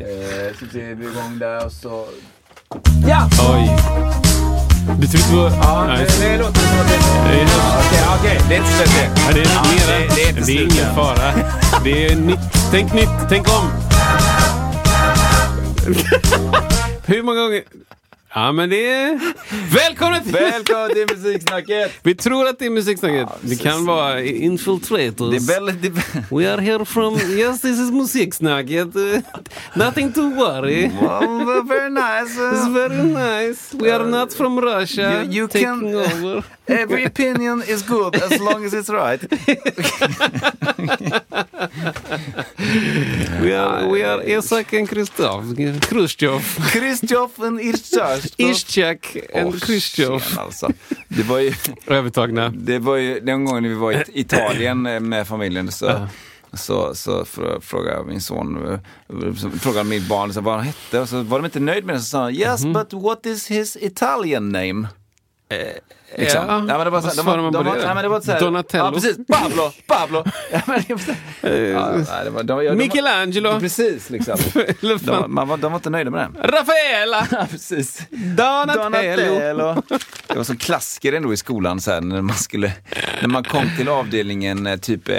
Eh, så ser vi igång där och så... Ja! Oj. Du tror inte på... Ja, Nej, det, det låter som att det... det är- Okej, okej. Det är inte slut det. Nej, det är mera. det- det är inte det är slut ingen än. fara. Det är nytt. Tänk nytt. Tänk om. Hur många gånger... Ja, men det är... Välkomna till... Välkommen till Musiksnacket! Vi tror att det är musiksnacket. det precis. kan vara infiltrators. Det är väldigt... Det är... We are here from... Yes, this is musiksnacket. Uh, Nothing to worry. Oh, very nice! It's very nice. We are not from Russia. You- you taking can- over. Every opinion is good as long as it's right. We are, we are Isak and Kristoff. Khrushchev. Kristjofen Irsas. Ishchak and Åh, Khrushchev. tjena, Alltså. Det var ju... Övertagna. Det var ju den gången vi var i Italien eh, med familjen. Så, så, så frå- frågade jag min son, eh, så frågade jag mitt barn så vad han hette. Och så var de inte nöjd med det. Så sa han, yes but what is his Italian name? Eh, Liksom. Ja, men det var så här- vad de svarar man de på var- det? nej, men det var så här- Donatello? Ja, precis. Pablo, Pablo. Ja, men det var så här- ja, nej, det var- de var- ja, de var- Michelangelo. Precis, liksom. Eller De, var- fan. man var, de var inte nöjda med det. Rafaela! Ja, precis. Donatello! Donatello. Det var så klassiker ändå i skolan så här, när man skulle, när man kom till avdelningen eh, typ eh,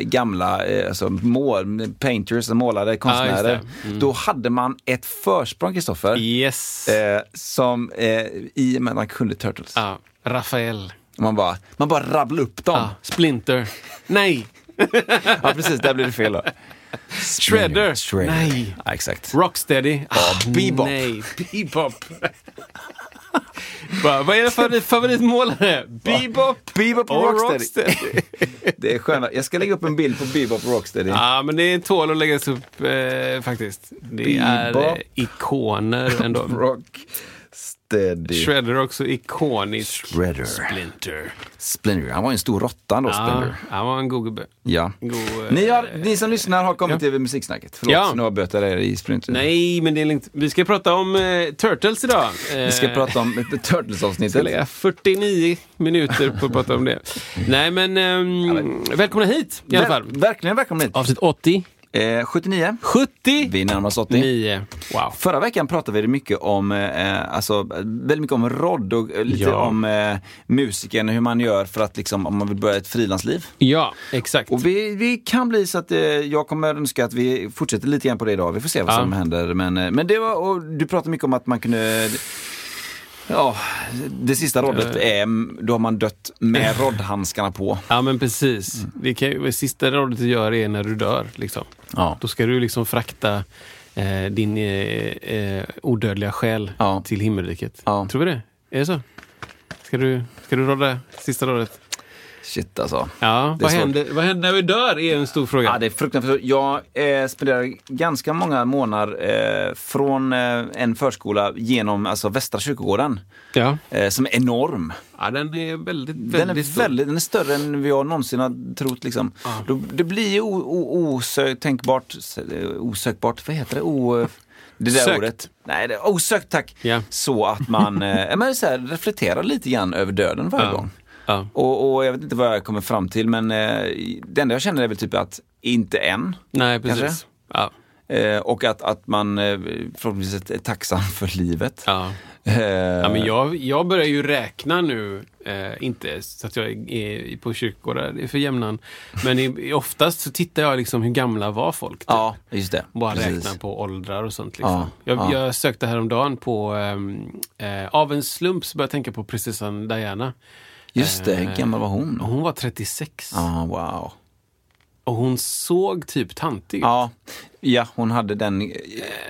gamla, eh, alltså mål, painters, som målade just det. Mm. konstnärer. Då hade man ett försprång, Kristoffer. Yes. Eh, som eh, i och med att man kunde Turtles. Ja, Ah, Rafael. Man, bara, man bara rabblade upp dem. Ja, Splinter. Nej! Ja, precis. Där blev det fel då. Shredder. Shredder. Nej. Ja, exakt. Rocksteady. Ah, Bebop. Nej, Bebop. Va, vad är det för favoritmålare? Bebop Bebop och och Rocksteady. Rocksteady. Det är sköna. Jag ska lägga upp en bild på Bebop och Rocksteady. Ja, men det tål att läggas upp eh, faktiskt. Det är eh, Bebop. ikoner ändå. Rocksteady. Shredder är också ikonisk. Shredder. Splinter. Splinter. Han var ju en stor råtta då, Ja, Splinter. han var en god gubbe. Ja. God, eh, Ni, har, ni som lyssnar har kommit över musiksnacket. Förlåt, Ja. nu avbötar jag er i Splinter. Nej, men det är lugnt. Vi ska prata om eh, Turtles idag. Vi eh, ska prata om ett Turtles-avsnittet. lägga 49 minuter på att prata om det. Nej, men ehm, välkomna hit i alla fall. Ver- verkligen välkomna hit. Avsnitt 80. Eh, 79. 79. Vi närmar oss 80. Wow. Förra veckan pratade vi mycket om, eh, alltså, väldigt mycket om rodd och eh, lite Ja. om eh, musiken, hur man gör för att liksom, om man vill börja ett frilansliv. Ja, exakt. Och vi, vi kan bli så att eh, jag kommer önska att vi fortsätter lite grann på det idag. Vi får se vad Ja. som händer. Men, eh, men det var, och du pratade mycket om att man kunde Ja, det sista roddet är, mm, då har man dött med roddhandskarna på. Ja, men precis. Det, kan, ju- det sista rådet du gör är när du dör. Liksom. Ja. Då ska du liksom frakta eh, din eh, eh, odödliga själ Ja. till himmelriket. Ja. Tror vi det? Är det så? Ska du, ska du rodda sista rådet? Shit alltså. Ja, Det är vad svårt. händer, vad händer när vi dör är en stor fråga. Ja, det är fruktansvärt. Jag eh, spenderade ganska många månader eh, från eh, en förskola genom alltså, Västra kyrkogården, ja. eh, som är enorm. ja, den är väldigt, väldigt Den är, stor. väldigt, den är större än vi har någonsin har trott. Liksom. Då, det blir ju o- o- osökbart, eh, osökbart, vad heter det? O, eh, det där Sökt. ordet. Nej, det, osökt tack. Ja. Så att man eh, men så här, reflekterar lite grann över döden varje Ja. gång. Ja. Och, och jag vet inte vad jag kommer fram till men eh, det enda jag känner är väl typ att inte än. Nej, precis. Kanske? Ja. Eh, och att, att man eh, förhoppningsvis är tacksam för livet. Ja. Eh, Ja, men jag, jag börjar ju räkna nu, eh, inte så att jag är på kyrkogårdar för jämnan, men i, oftast så tittar jag liksom hur gamla var folk. typ. ja, just det. Bara Precis. räkna på åldrar och sånt. Liksom. Ja, jag, ja. jag sökte häromdagen på, ehm, eh, av en slump så började jag tänka på prinsessan Diana. Just det, hur Eh, gammal var hon? Hon var 36 Ja, wow. och hon såg typ tantig ut. Ja, ja hon hade den eh,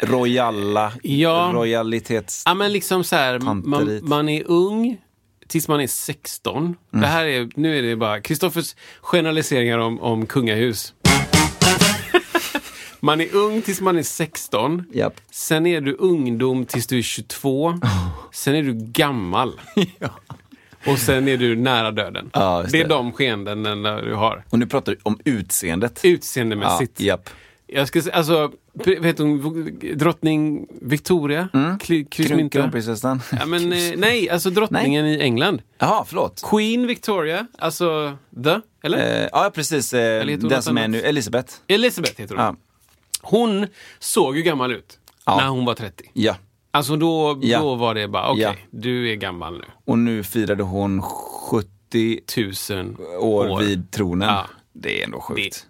royala, Ja. royalitets... Ja, men liksom så här, man, Panterit. man är ung tills man är 16. Mm. Det här är, nu är det bara Kristoffers generaliseringar om, om kungahus. Man är ung tills man är 16. Japp. Sen är du ungdom tills du är 22. Sen är du gammal. Och sen är du nära döden. Ja, det. just är det. de skeenden du har. Och nu pratar vi om utseendet. Utseendemässigt. japp. Jag ska säga, alltså, vet hon, drottning Victoria? Mm. Kryssmynta? Kronprinsessan. Ja, men, eh, nej, alltså drottningen i England. Jaha, förlåt. Queen Victoria, alltså the, eller? Eh, ja, precis. Eh, Eller heter hon den något som är annat? nu, Elisabeth. Elizabeth heter hon. Ja. Hon såg ju gammal ut Ja. när hon var 30. ja. Alltså då, Ja. då var det bara, okej, Ja. du är gammal nu. Och nu firade hon 70 Tusen år, år. vid tronen. Ja. Det är ändå Det är sjukt.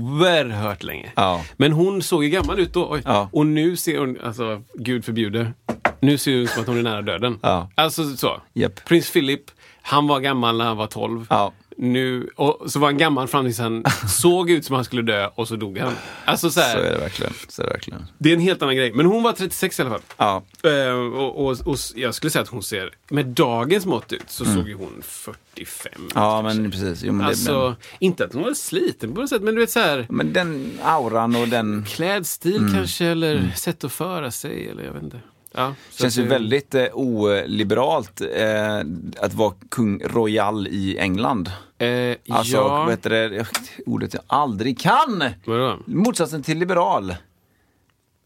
oerhört länge. Ja. Men hon såg ju gammal ut då. Oj. Ja. Och nu ser hon, alltså gud förbjude, nu ser det ut som att hon är nära döden. Ja. Alltså så. Japp. Prins Philip, han var gammal när han var 12. Ja. Nu, och så var han gammal fram tills han såg ut som han skulle dö och så dog han. Alltså så här, Så är det. det verkligen. Så är det verkligen. är en helt annan grej. Men hon var 36 i alla fall. Ja. Eh, och, och, och s- jag skulle säga att hon ser, med dagens mått ut, så såg ju hon 45 ut. Mm. Ja, men precis. Jo, men, det- Alltså, inte att hon var sliten på något sätt, men du vet så här men, men den auran och den Klädstil Mm. kanske, eller sätt att föra sig, eller jag vet inte. Ja, så känns att ju det- väldigt eh, oliberalt eh, att vara kung royal i England. Eh, Alltså, vad ja, heter det? Ordet jag aldrig kan! vadå? Motsatsen till liberal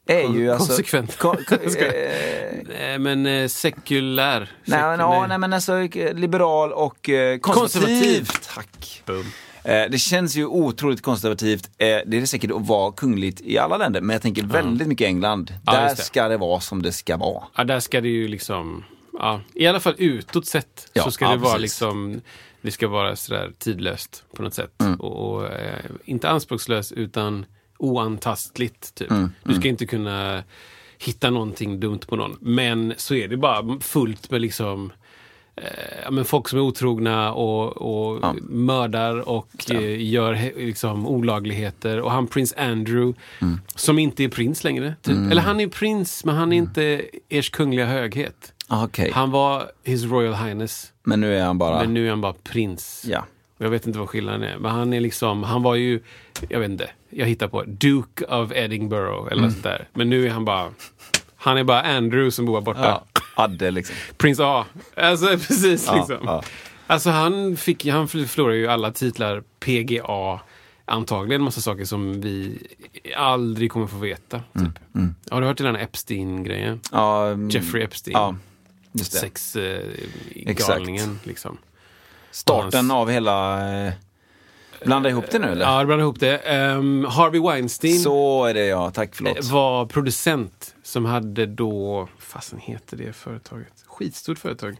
är Kon- ju alltså... konsekvent. Kon, kon, Jag skojar. eh, Eh, men eh, sekulär. Nej, men, Sekul- ja, nej men alltså eh, liberal och eh, konservativ. Konservativ. Tack. Boom. Eh, det känns ju otroligt konservativt. Eh, det är det säkert att vara kungligt i alla länder, men jag tänker väldigt mycket England. Ja, Där just det. ska det vara som det ska vara. Ja, där ska det ju liksom... Ja, I alla fall utåt sett Ja, så ska ja, det vara precis. liksom... Det ska vara sådär tidlöst på något sätt. Mm. Och, och eh, inte anspråkslöst utan oantastligt. Typ. Mm, Du ska inte kunna hitta någonting dumt på någon. Men så är det bara fullt med liksom eh, ja, men folk som är otrogna och, och mördar och eh, gör he- liksom, olagligheter. Och han prins Andrew, Mm. som inte är prins längre. Typ. Eller han är prins, men Mm. han är inte ers kungliga höghet. Ah, Okej, Han var His Royal Highness, men nu är han bara... men nu är han bara prins. Ja. Och jag vet inte vad skillnaden är, men han är liksom, han var ju, jag vet inte, jag hittar på, Duke of Edinburgh Mm. eller något sånt där. Men nu är han bara, han är bara Andrew som bor borta. Ja. Adde liksom. Prins A. Alltså precis Ja, liksom. ja. Alltså han, fick, han förlorade ju alla titlar, PGA, antagligen en massa saker som vi aldrig kommer få veta. Typ. Har du hört till den här Epstein-grejen? Mm. Ja, mm, Jeffrey Epstein. Ja, just det. Exakt. Sexgalningen liksom. Starten hans- av hela... Eh, blanda ihop det nu eller? Ja, jag blandade ihop det. Ehm, Harvey Weinstein Så är det ja, tack förlåt. var producent som hade då, fasen heter det företaget? Skitstort företag.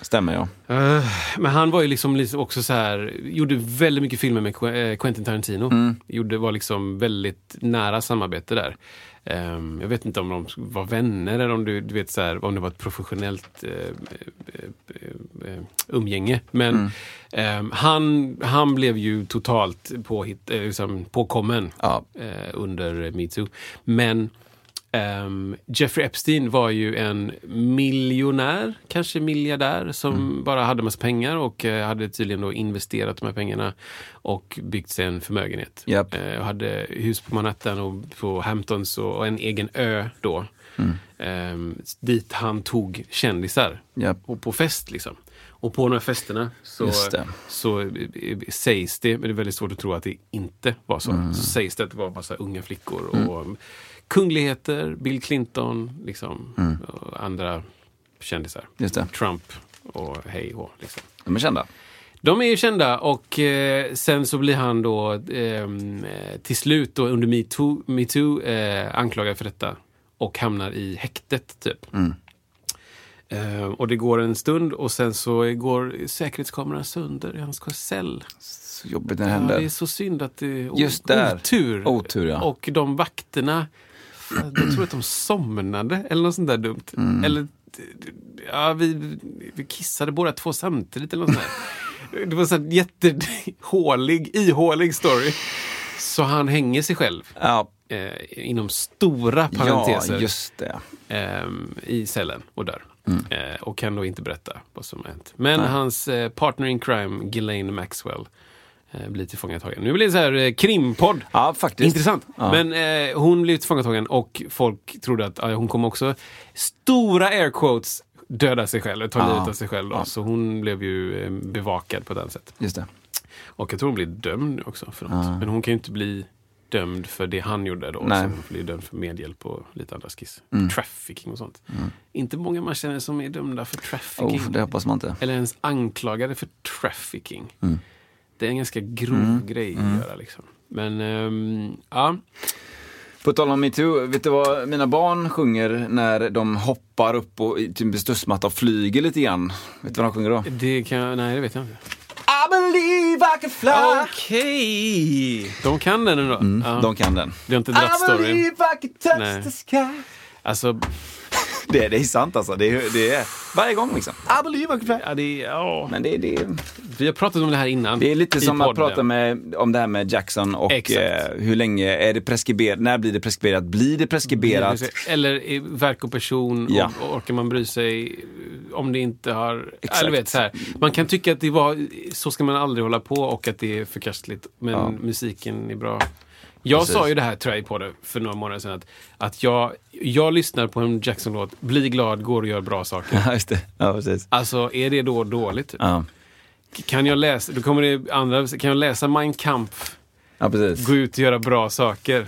Stämmer ja. Eh, Men han var ju liksom liksom också så här, gjorde väldigt mycket filmer med Que- eh, Quentin Tarantino. Gjorde, var liksom väldigt nära samarbete där. Ehm, jag vet inte om de var vänner eller om, du, du vet så här, om det var ett professionellt eh, eh, eh, umgänge. Men ehm, han, han blev ju totalt påhitt, eh, liksom påkommen Ja. eh, under metoo. Men ehm, Jeffrey Epstein var ju en miljonär, kanske miljardär, som bara hade massa pengar och eh, hade tydligen då investerat de här pengarna och byggt sig en förmögenhet. Japp. Eh, och hade hus på Manhattan och på Hamptons och, och en egen ö då. Ehm, dit han tog kändisar Japp. och på fest liksom. Och på de här festerna så, Just det. så eh, eh, sägs det, men det är väldigt svårt att tro att det inte var så, Mm. så sägs det att det var massa unga flickor och um, kungligheter, Bill Clinton, liksom, och andra kändisar. Mm. Just det. Trump och hej och liksom. De är kända. De är ju kända och eh, sen så blir han då ehm, eh, till slut då under metoo Me Too, eh, anklagad för detta och hamnar i häktet typ. Mm. Eh, och det går en stund och sen så går säkerhetskameran sönder i hans cell. Så jobbigt när det Ja, händer. det är så synd att det är o- Just där. otur. Otur, ja. Och de vakterna, jag tror att de somnade eller något sånt där dumt. Mm. Eller, ja, vi, vi kissade båda två samtidigt eller något sånt där. Det var en sån här jättehålig, ihålig story. Så han hänger sig själv. Ja, Eh, inom stora ja, parenteser just Mm. det. ehm, i cellen och dör. Eh, och kan då inte berätta vad som har hänt. Men hans eh, partner in crime, Ghislaine Maxwell, eh, blir tillfångatagen. Nu blir det så här eh, krimpodd. Ja, faktiskt. Intressant. Ja. Men eh, hon blev tillfångatagen och folk trodde att ja, hon kommer också, stora air quotes, döda sig själv, ta livet av sig själv. Då. Så hon blev ju eh, bevakad på det här sättet. Just det. Och jag tror hon blev dömd också för något. Men hon kan ju inte bli dömd för det han gjorde då. Nej. Mm. Så hon blir dömd för medhjälp och lite andra skiss. Trafficking och sånt. Inte många man känner som är dömda för trafficking. Oh, det hoppas man inte. Eller ens anklagade för trafficking. Mm. Det är en ganska grov grej att göra liksom. Men, ehm, ja. På tal om metoo, vet du vad mina barn sjunger när de hoppar upp och i typ en studsmatta och flyger lite grann? Vet du vad de sjunger då? Det kan jag, nej det vet jag inte. I believe I can fly Okej! De kan den ändå. ja. Mm. De kan den. Vi har inte dratt storyn. I can touch Nej. the sky Alltså, det, det är sant alltså. Det är, det är varje gång liksom. I believe I can fly. ja, det, är- ja. Men det, det, vi har pratat om det här innan. det är lite i som att podden. prata med, om det här med Jackson och eh, Exakt. hur länge är det preskriberat? När blir det preskriberat? Blir det Mm, preskriberat? Eller i verk och person, Ja. och, och orkar man bry sig eh, om det inte har... Exakt. Exakt. Vet, så här. Man kan tycka att det var, så ska man aldrig hålla på och att det är förkastligt, men musiken är bra. Jag Precis. sa ju det här, tror jag, på det för några månader sedan, att, att jag, jag lyssnar på en Jackson-låt, blir glad, går och gör bra saker. Ja, just det. Ja, precis. Alltså, är det då dåligt? typ? Ja, Kan jag läsa, då kommer det andra, kan jag läsa Mein Kampf, ja precis. gå ut och göra bra saker,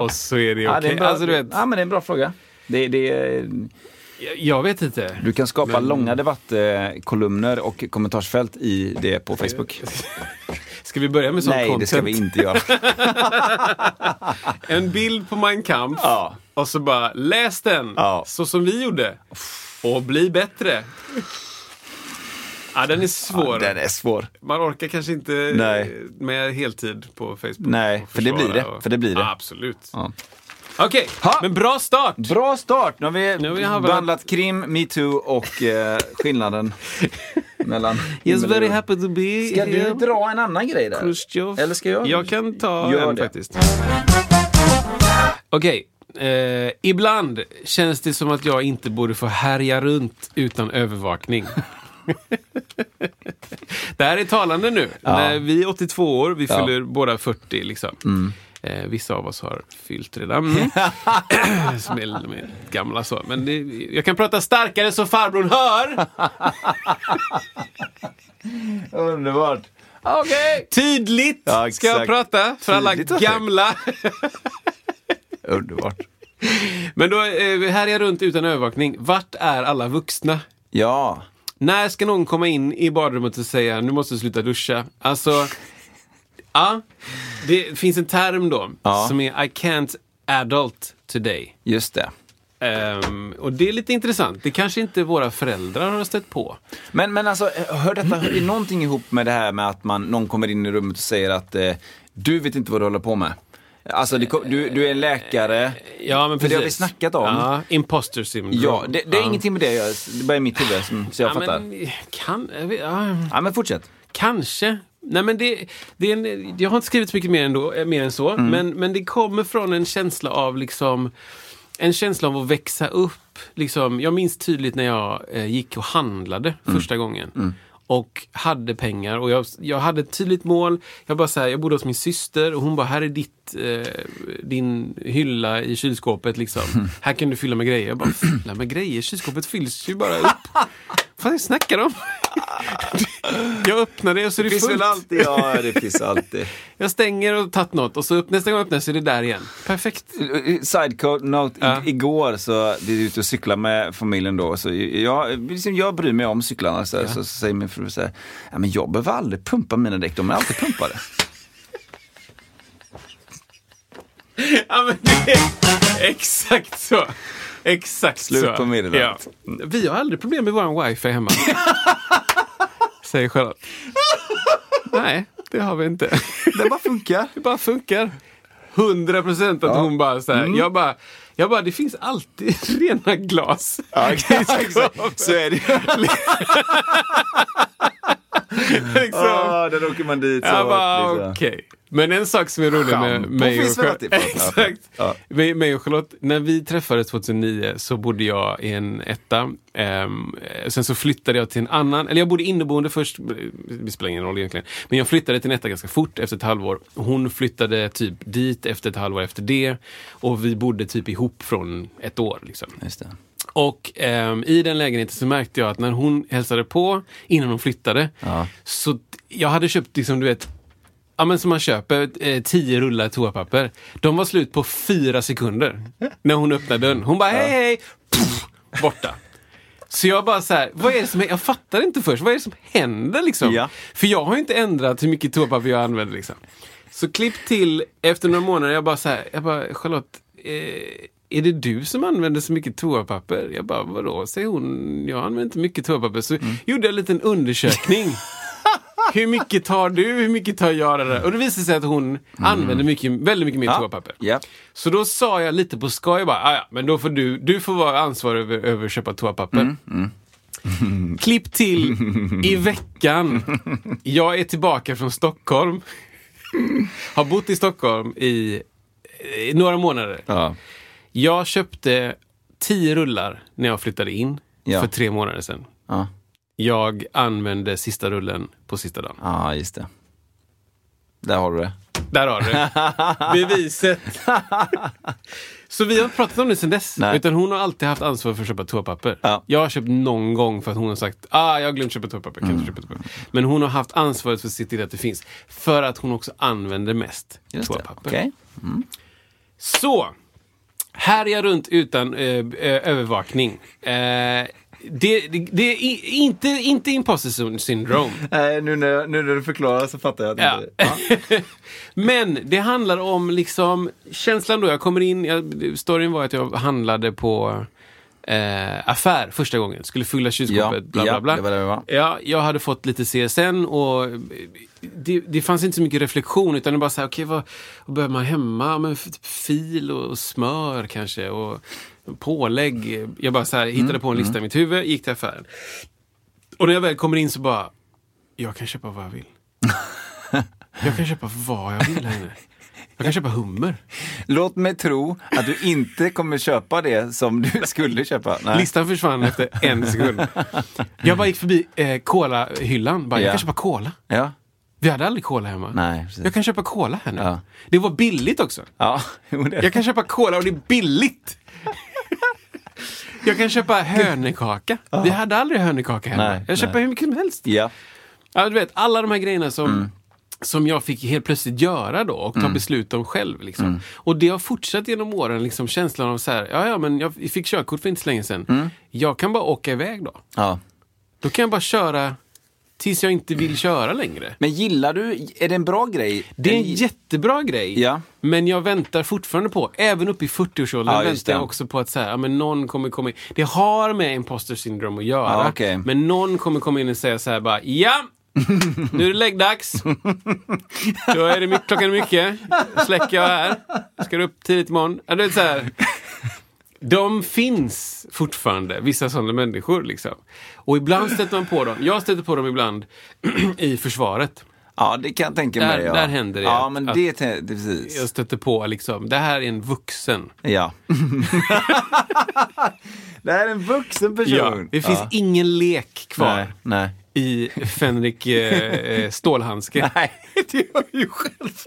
och så är det okej. Ja, det är en bra, alltså, du vet, ja, men det är en bra fråga. Det, det, jag, jag vet inte. du kan skapa långa debattkolumner och kommentarsfält i det på Facebook. Ska vi börja med sån Nej, content? det ska vi inte göra. En bild på Mein Kampf Ja. och så bara läs den Ja. så som vi gjorde och bli bättre. Ja, den är svår. Den är svår. Man orkar kanske inte Nej. eh, med heltid på Facebook. Nej, och för det blir försvara det, för det blir det. Ja, absolut. Ja. Okej, Ha! men bra start! Bra start! Nu har vi, Nu har vi hamnat- behandlat krim, metoo och eh, skillnaden mellan... happy to be Ska du dra en annan grej där? Eller ska jag? Jag kan ta Gör en det. faktiskt. Okej. Eh, ibland känns det som att jag inte borde få härja runt utan övervakning. det här är talande nu. När vi är 82 år, vi fyller båda 40. Liksom. Mm. Eh, vissa av oss har fyllt redan. Som är lite mer gamla så. Men det, jag kan prata starkare så farbrorn hör. Underbart! Okej! Tydligt Ja, ska jag exakt. prata för alla Tydligt och gamla. Underbart. Men då, eh, här är jag runt utan övervakning. Vart är alla vuxna? Ja. När ska någon komma in i badrummet och säga nu måste du sluta duscha? Alltså, ja. Det finns en term då Ja. som är I can't adult today. Just det. Ehm, och det är lite intressant. Det kanske inte våra föräldrar har stött på. Men, men alltså, hör detta hör någonting ihop med det här med att man, någon kommer in i rummet och säger att eh, du vet inte vad du håller på med. Alltså, det, kom- du, du är en läkare. Ja, men För det har vi precis. snackat om. Ja, imposter syndrome. Ja, det, det är ingenting med det jag Det är bara i mitt huvud, som- så jag ja, fattar. men, kan, jag vet- ja. Ja, men fortsätt. Kanske. Nej, men det, det är en, jag har inte skrivit så mycket mer, ändå, eh, mer än så, men, men det kommer från en känsla av liksom en känsla av att växa upp. Liksom, jag minns tydligt när jag eh, gick och handlade första gången. Och hade pengar och jag, jag hade ett tydligt mål. Jag, bara så här, jag bodde hos min syster och hon bara, här är ditt, eh, din hylla i kylskåpet. Liksom. Här kan du fylla med grejer. Jag bara, fylla med grejer? Kylskåpet fylls ju bara upp. Vad snackar de? Jag öppnar det och så är det fullt. alltid? Ja, det finns alltid. Jag stänger och tagit något och så upp, nästa gång jag öppnar så är det där igen. Perfekt. Sidecoat note. I- Ja. Igår så vi är ute och cyklar med familjen då. Så jag, liksom jag bryr mig om cyklarna. Så, här, så, så säger min fru så här, ja, men jag behöver aldrig pumpa mina däck, de är alltid pumpade. Ja, men det är exakt så. Exakt Slut så. på meddelandet. Ja. Vi har aldrig problem med vår wifi hemma. Säger Charlotte. Nej, det har vi inte. det bara funkar. Det bara funkar. 100 procent att hon bara så här. Jag bara, jag bara, det finns alltid rena glas. Ja, exakt. Så är det liksom. där åker man dit. liksom. Jag bara, okej. Men en sak som är rolig med Shampoo mig och finns väl Charlotte, alltid på- exakt. Ja. Mig- Mig och Charlotte, när vi träffades 2009 så bodde jag i en etta. Ehm, sen så flyttade jag till en annan, eller jag bodde inneboende först, det spelar ingen roll egentligen. Men jag flyttade till en etta ganska fort efter ett halvår. Hon flyttade typ dit efter ett halvår efter det. Och vi bodde typ ihop från ett år. Liksom. Just det. Och ehm, i den lägenheten så märkte jag att när hon hälsade på innan hon flyttade Ja. så t- jag hade köpt, liksom, du vet, ja, men som man köper, eh, tio rullar toapapper. De var slut på fyra sekunder när hon öppnade dörren. Hon bara hej hej! Puff, borta. Så jag bara så här, vad är det som händer? Jag fattar inte först, vad är det som händer liksom? Ja. För jag har ju inte ändrat hur mycket toapapper jag använder liksom. Så klipp till, efter några månader, jag bara så här, jag bara Charlotte, eh, är det du som använder så mycket toapapper? Jag bara, vadå, säger hon, jag använder inte mycket toapapper. Så gjorde jag en liten undersökning. Hur mycket tar du? Hur mycket tar jag? Det där? Och det visade sig att hon använder mycket, väldigt mycket mer toapapper. Mm. Ja. Så då sa jag lite på skoj bara, "Ah, ja, men då får du, du får vara ansvarig över, över att köpa toapapper. Mm, Klipp till i veckan. Jag är tillbaka från Stockholm. Har bott i Stockholm i eh, några månader. Ja. Jag köpte tio rullar när jag flyttade in Ja. för tre månader sedan. Ja. Jag använde sista rullen på sista dagen. ja, just det. Där har du det. Där har du beviset. Så vi har inte pratat om det sen dess. Nej. Utan hon har alltid haft ansvar för att köpa toapapper. Ja. Jag har köpt någon gång för att hon har sagt ah, jag har glömt köpa toapapper. Kan inte Mm. köpa toapapper. Men hon har haft ansvaret för att se till att det finns. För att hon också använder mest Just det. toapapper. Okej. Så, här är jag runt utan eh, eh, övervakning. Eh, det, det, det är i- inte, inte imposter syndrome. Nej, nu när, nu när du förklarar så fattar jag. Ja. Men det handlar om liksom känslan då jag kommer in. Jag, storyn var att jag handlade på eh, affär första gången. Skulle fylla kylskåpet, Ja, bla ja, bla bla. det var där vi var. Ja, jag hade fått lite CSN och eh, det, det fanns inte så mycket reflektion utan det bara så här, okej vad, vad behöver man hemma? Men f- fil och, och smör kanske och pålägg. Jag bara så här, hittade Mm, på en lista i mitt huvud, gick till affären. Och när jag väl kommer in så bara, jag kan köpa vad jag vill. Jag kan köpa vad jag vill här inne. Jag kan köpa hummer. Låt mig tro att du inte kommer köpa det som du skulle köpa. Nej. Listan försvann efter en sekund. Jag bara gick förbi eh, colahyllan. Bara, Jag Ja. kan köpa cola. Ja. Vi hade aldrig cola hemma. Nej, precis. jag kan köpa cola här nu. Ja. Det var billigt också. Ja, jo, det. Jag kan köpa cola och det är billigt. jag kan köpa hönekaka. Vi hade aldrig hönekaka hemma. Nej, jag köper nej. hur mycket som helst. Ja. Ja, du vet, alla de här grejerna som, som jag fick helt plötsligt göra då och ta beslut om själv. Liksom. Och det har fortsatt genom åren, liksom, känslan av så här, ja, ja, men jag fick körkort för inte så länge sedan. Jag kan bara åka iväg då. ja. Då kan jag bara köra tills jag inte vill köra längre. Men gillar du, är det en bra grej? Det är en Eller- jättebra grej, Ja. men jag väntar fortfarande på, även upp i 40-årsåldern, Ja, just väntar jag det. också på att så här, ja, men någon kommer komma in. Det har med imposter syndrom att göra, Ja, okej. men någon kommer komma in och säga så här bara, ja, nu är det läggdags. Då är det mycket, klockan är mycket. Då släcker jag här. Ska du upp tidigt imorgon? Ja, du vet så här. De finns fortfarande, vissa sådana människor. Liksom. Och ibland stöter man på dem. Jag stöter på dem ibland i försvaret. Ja, det kan jag tänka Där- mig. Ja. där händer det Ja, att- men att- det, te- det precis. jag stötte på liksom, det här är en vuxen. Ja. det här är en vuxen person. det finns ingen lek kvar Nej, nej. i Fänrik eh, eh, Stålhandske. Nej, det gör ju själv.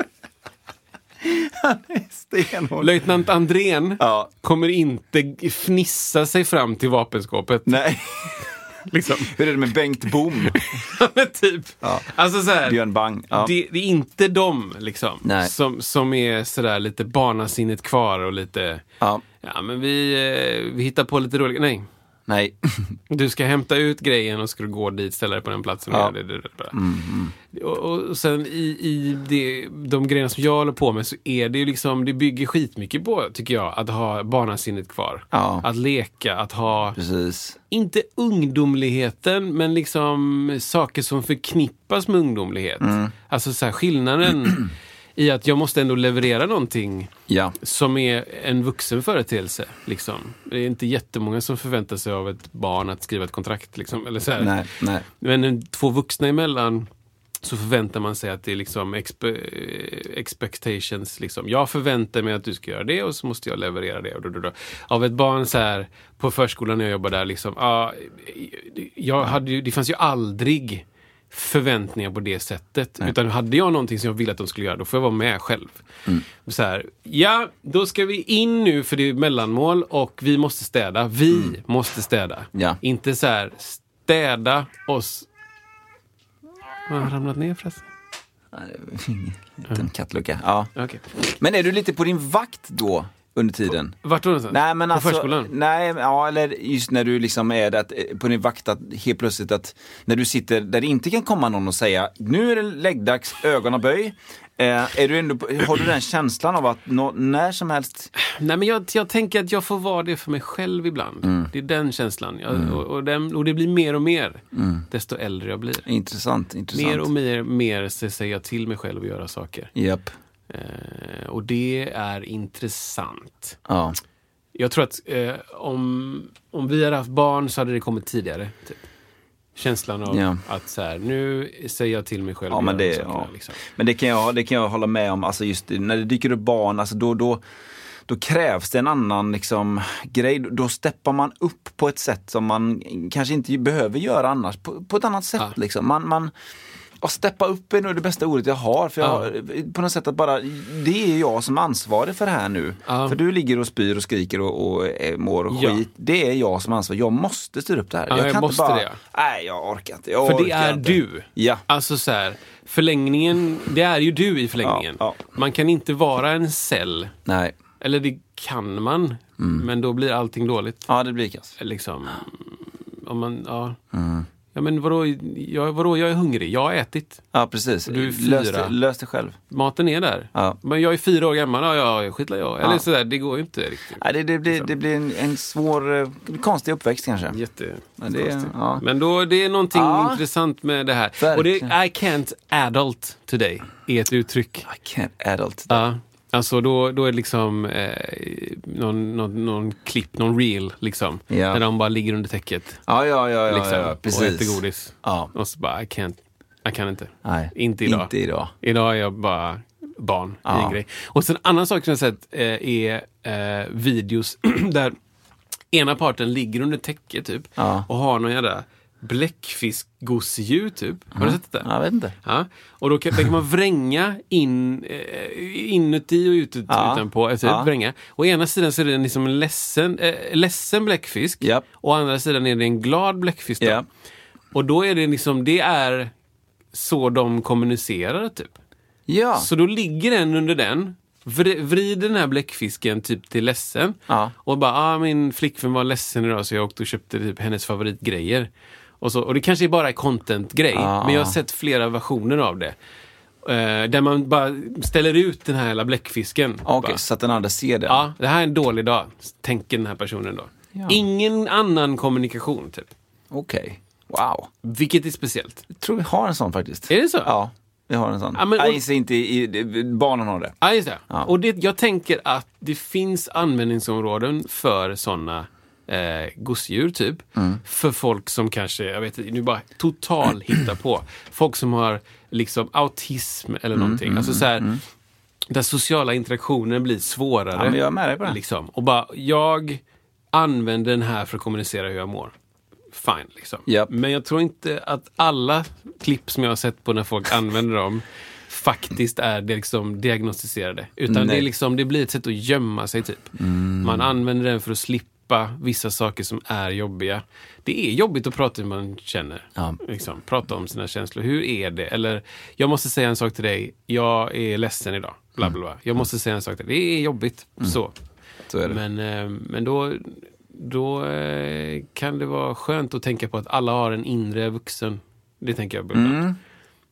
Han är stenhård. Löjtnant Andrén Ja. kommer inte g- fnissa sig fram till vapenskåpet. Nej. Liksom. Hur är det med Bengt Boom? Men typ. Ja. Alltså så här, Björn Bang. Ja. det, det är inte de liksom, Nej. som, som är sådär lite barnasinnet kvar och lite, Ja. ja men vi, eh, vi hittar på lite roliga, nej. Nej. Du ska hämta ut grejen och ska du gå dit, ställa dig på den platsen. och Ja. Mm-hmm. göra det, det, det, det. Och, och sen i, i det, de grejerna som jag håller på med så är det ju liksom, det bygger skitmycket på, tycker jag, att ha barnasinnet kvar. Ja. Att leka, att ha, Precis. inte ungdomligheten, men liksom saker som förknippas med ungdomlighet. Mm. Alltså så här, skillnaden i att jag måste ändå leverera någonting Ja. som är en vuxen företeelse. Liksom. Det är inte jättemånga som förväntar sig av ett barn att skriva ett kontrakt. Liksom, eller så här. Nej, nej. Men en- två vuxna emellan så förväntar man sig att det är liksom expe, eh, expectations. Liksom. Jag förväntar mig att du ska göra det och så måste jag leverera det. Och då, då, då. Av ett barn så här på förskolan när jag jobbade där, liksom, ah, jag hade ju, det fanns ju aldrig förväntningar på det sättet. Utan hade jag någonting som jag ville att de skulle göra, då får jag vara med själv. Så här, ja, då ska vi in nu för det är mellanmål och vi måste städa. Vi måste städa. Ja. Inte så här, städa oss. Har jag ramlat ner förresten? En liten kattlucka. Ja. Okej. Men är du lite på din vakt då under tiden? Vart var du någonstans? Nej, men På alltså, förskolan? Nej, men, ja, eller just när du liksom är där, att, eh, på din vakt, att helt plötsligt att när du sitter där det inte kan komma någon och säga nu är det läggdags, ögonen böj. Eh, är du ändå, har du den känslan av att nå- när som helst, Nej, men jag, jag tänker att jag får vara det för mig själv ibland. Mm. Det är den känslan. Jag, och, och, den, och det blir mer och mer, Mm. desto äldre jag blir. intressant, intressant. Mer och mer, mer så säger jag till mig själv att göra saker. Japp. Eh, och det är intressant. Ja. Jag tror att eh, om, om vi hade haft barn så hade det kommit tidigare. Typ. Känslan av Ja. att så här, nu säger jag till mig själv Ja, att men göra det, sakerna, ja. liksom. men det kan jag, det kan jag hålla med om. Alltså just när det dyker upp barn, alltså då, då, då krävs det en annan liksom, grej. Då steppar man upp på ett sätt som man kanske inte behöver göra annars. På, på ett annat sätt Ja. liksom. Man, man, att steppa upp är nog det bästa ordet jag har. För jag Ja. har, på något sätt att bara, det är jag som är ansvarig för det här nu. Ja. För du ligger och spyr och skriker och, och eh, mår Ja. skit. Det är jag som är ansvarig. Jag måste styra upp det här. Ja, jag kan måste inte bara, det, ja. nej jag orkar inte. Jag För det orkar är inte. du. Ja. Alltså så här, förlängningen, det är ju du i förlängningen. Ja, ja. Man kan inte vara en cell. Nej. Eller det kan man, Mm. men då blir allting dåligt. Ja, det blir kass. Liksom, om man, ja. Mm. Ja men vadå jag, vadå, jag är hungrig, jag har ätit. Ja, precis. Du är Lös fyra. det- Lös det själv. Maten är där. Ja. Men jag är fyra år gammal, ja, ja skitlar jag. Eller Ja. sådär, det går ju inte riktigt. Ja, det, det Liksom. blir, det blir en, en svår, eh, konstig uppväxt kanske. Jätte... Ja, det, ja. Men då, det är någonting Ja. intressant med det här. Och det, I Verkligen. can't adult today är ett uttryck. I can't adult. Ja. Alltså då, då är det liksom eh, någon, någon, någon klipp, någon reel liksom. Ja. När de bara ligger under täcket Ja, ja, ja, ja, liksom, ja, ja och precis. äter godis. Ja. Och så bara, I can't, jag kan inte. Nej, Inte idag. Inte idag. Idag är jag bara barn i Ja. en grej. Och sen en annan sak som jag sett eh, är eh, videos där ena parten ligger under täcket typ Ja. och har någon jävla bläckfiskgosedjur typ. Har du sett det? Ja, Jag vet inte. Ja. Och då kan, där kan man vränga in, eh, inuti och ut, Ja. utanpå. Alltså, Ja. vränga. Å ena sidan så är det liksom en ledsen, eh, ledsen bläckfisk. Japp. Å andra sidan är det en glad bläckfisk. Då. Ja. Och då är det liksom, det är så de kommunicerar typ. Ja. Så då ligger den under den, vri- vrider den här bläckfisken typ till ledsen. Ja. Och bara, ah, min flickvän var ledsen idag så jag åkte och köpte typ hennes favoritgrejer. Och, så, och det kanske är bara en content-grej, Ja. men jag har sett flera versioner av det. Eh, där man bara ställer ut den här hela bläckfisken. Okej, Bara, så att den andra ser det. Ja, det här är en dålig dag, tänker den här personen då. Ja. Ingen annan kommunikation, typ. Okej. Wow. Vilket är speciellt. Jag tror vi har en sån faktiskt. Är det så? Ja, vi har en sån. Ja, men- Nej, så inte i, i, barnen har det. Ja, just det. Ja. Och det, jag tänker att det finns användningsområden för sådana eh, gosedjur, typ. Mm. För folk som kanske, jag vet inte, nu bara total hitta på. Folk som har liksom autism eller Mm, någonting. alltså så här, där sociala interaktionen blir svårare. Ja, men jag är med dig på det. Liksom. Och bara, jag använder den här för att kommunicera hur jag mår. Fine, liksom. Japp. Men jag tror inte att alla klipp som jag har sett på när folk använder dem faktiskt är det liksom diagnostiserade. Utan det, Nej. Mm. är liksom, det blir ett sätt att gömma sig, typ. Man använder den för att slippa vissa saker som är jobbiga. Det är jobbigt att prata hur man känner. Ja. Liksom, prata om sina känslor. Hur är det? Eller, jag måste säga en sak till dig. Jag är ledsen idag. Bla, bla, bla. Jag måste säga en sak till dig. Det är jobbigt. Mm. Så. Så är det. Men, eh, men då, då eh, kan det vara skönt att tänka på att alla har en inre vuxen. Det tänker jag på ibland. Mm.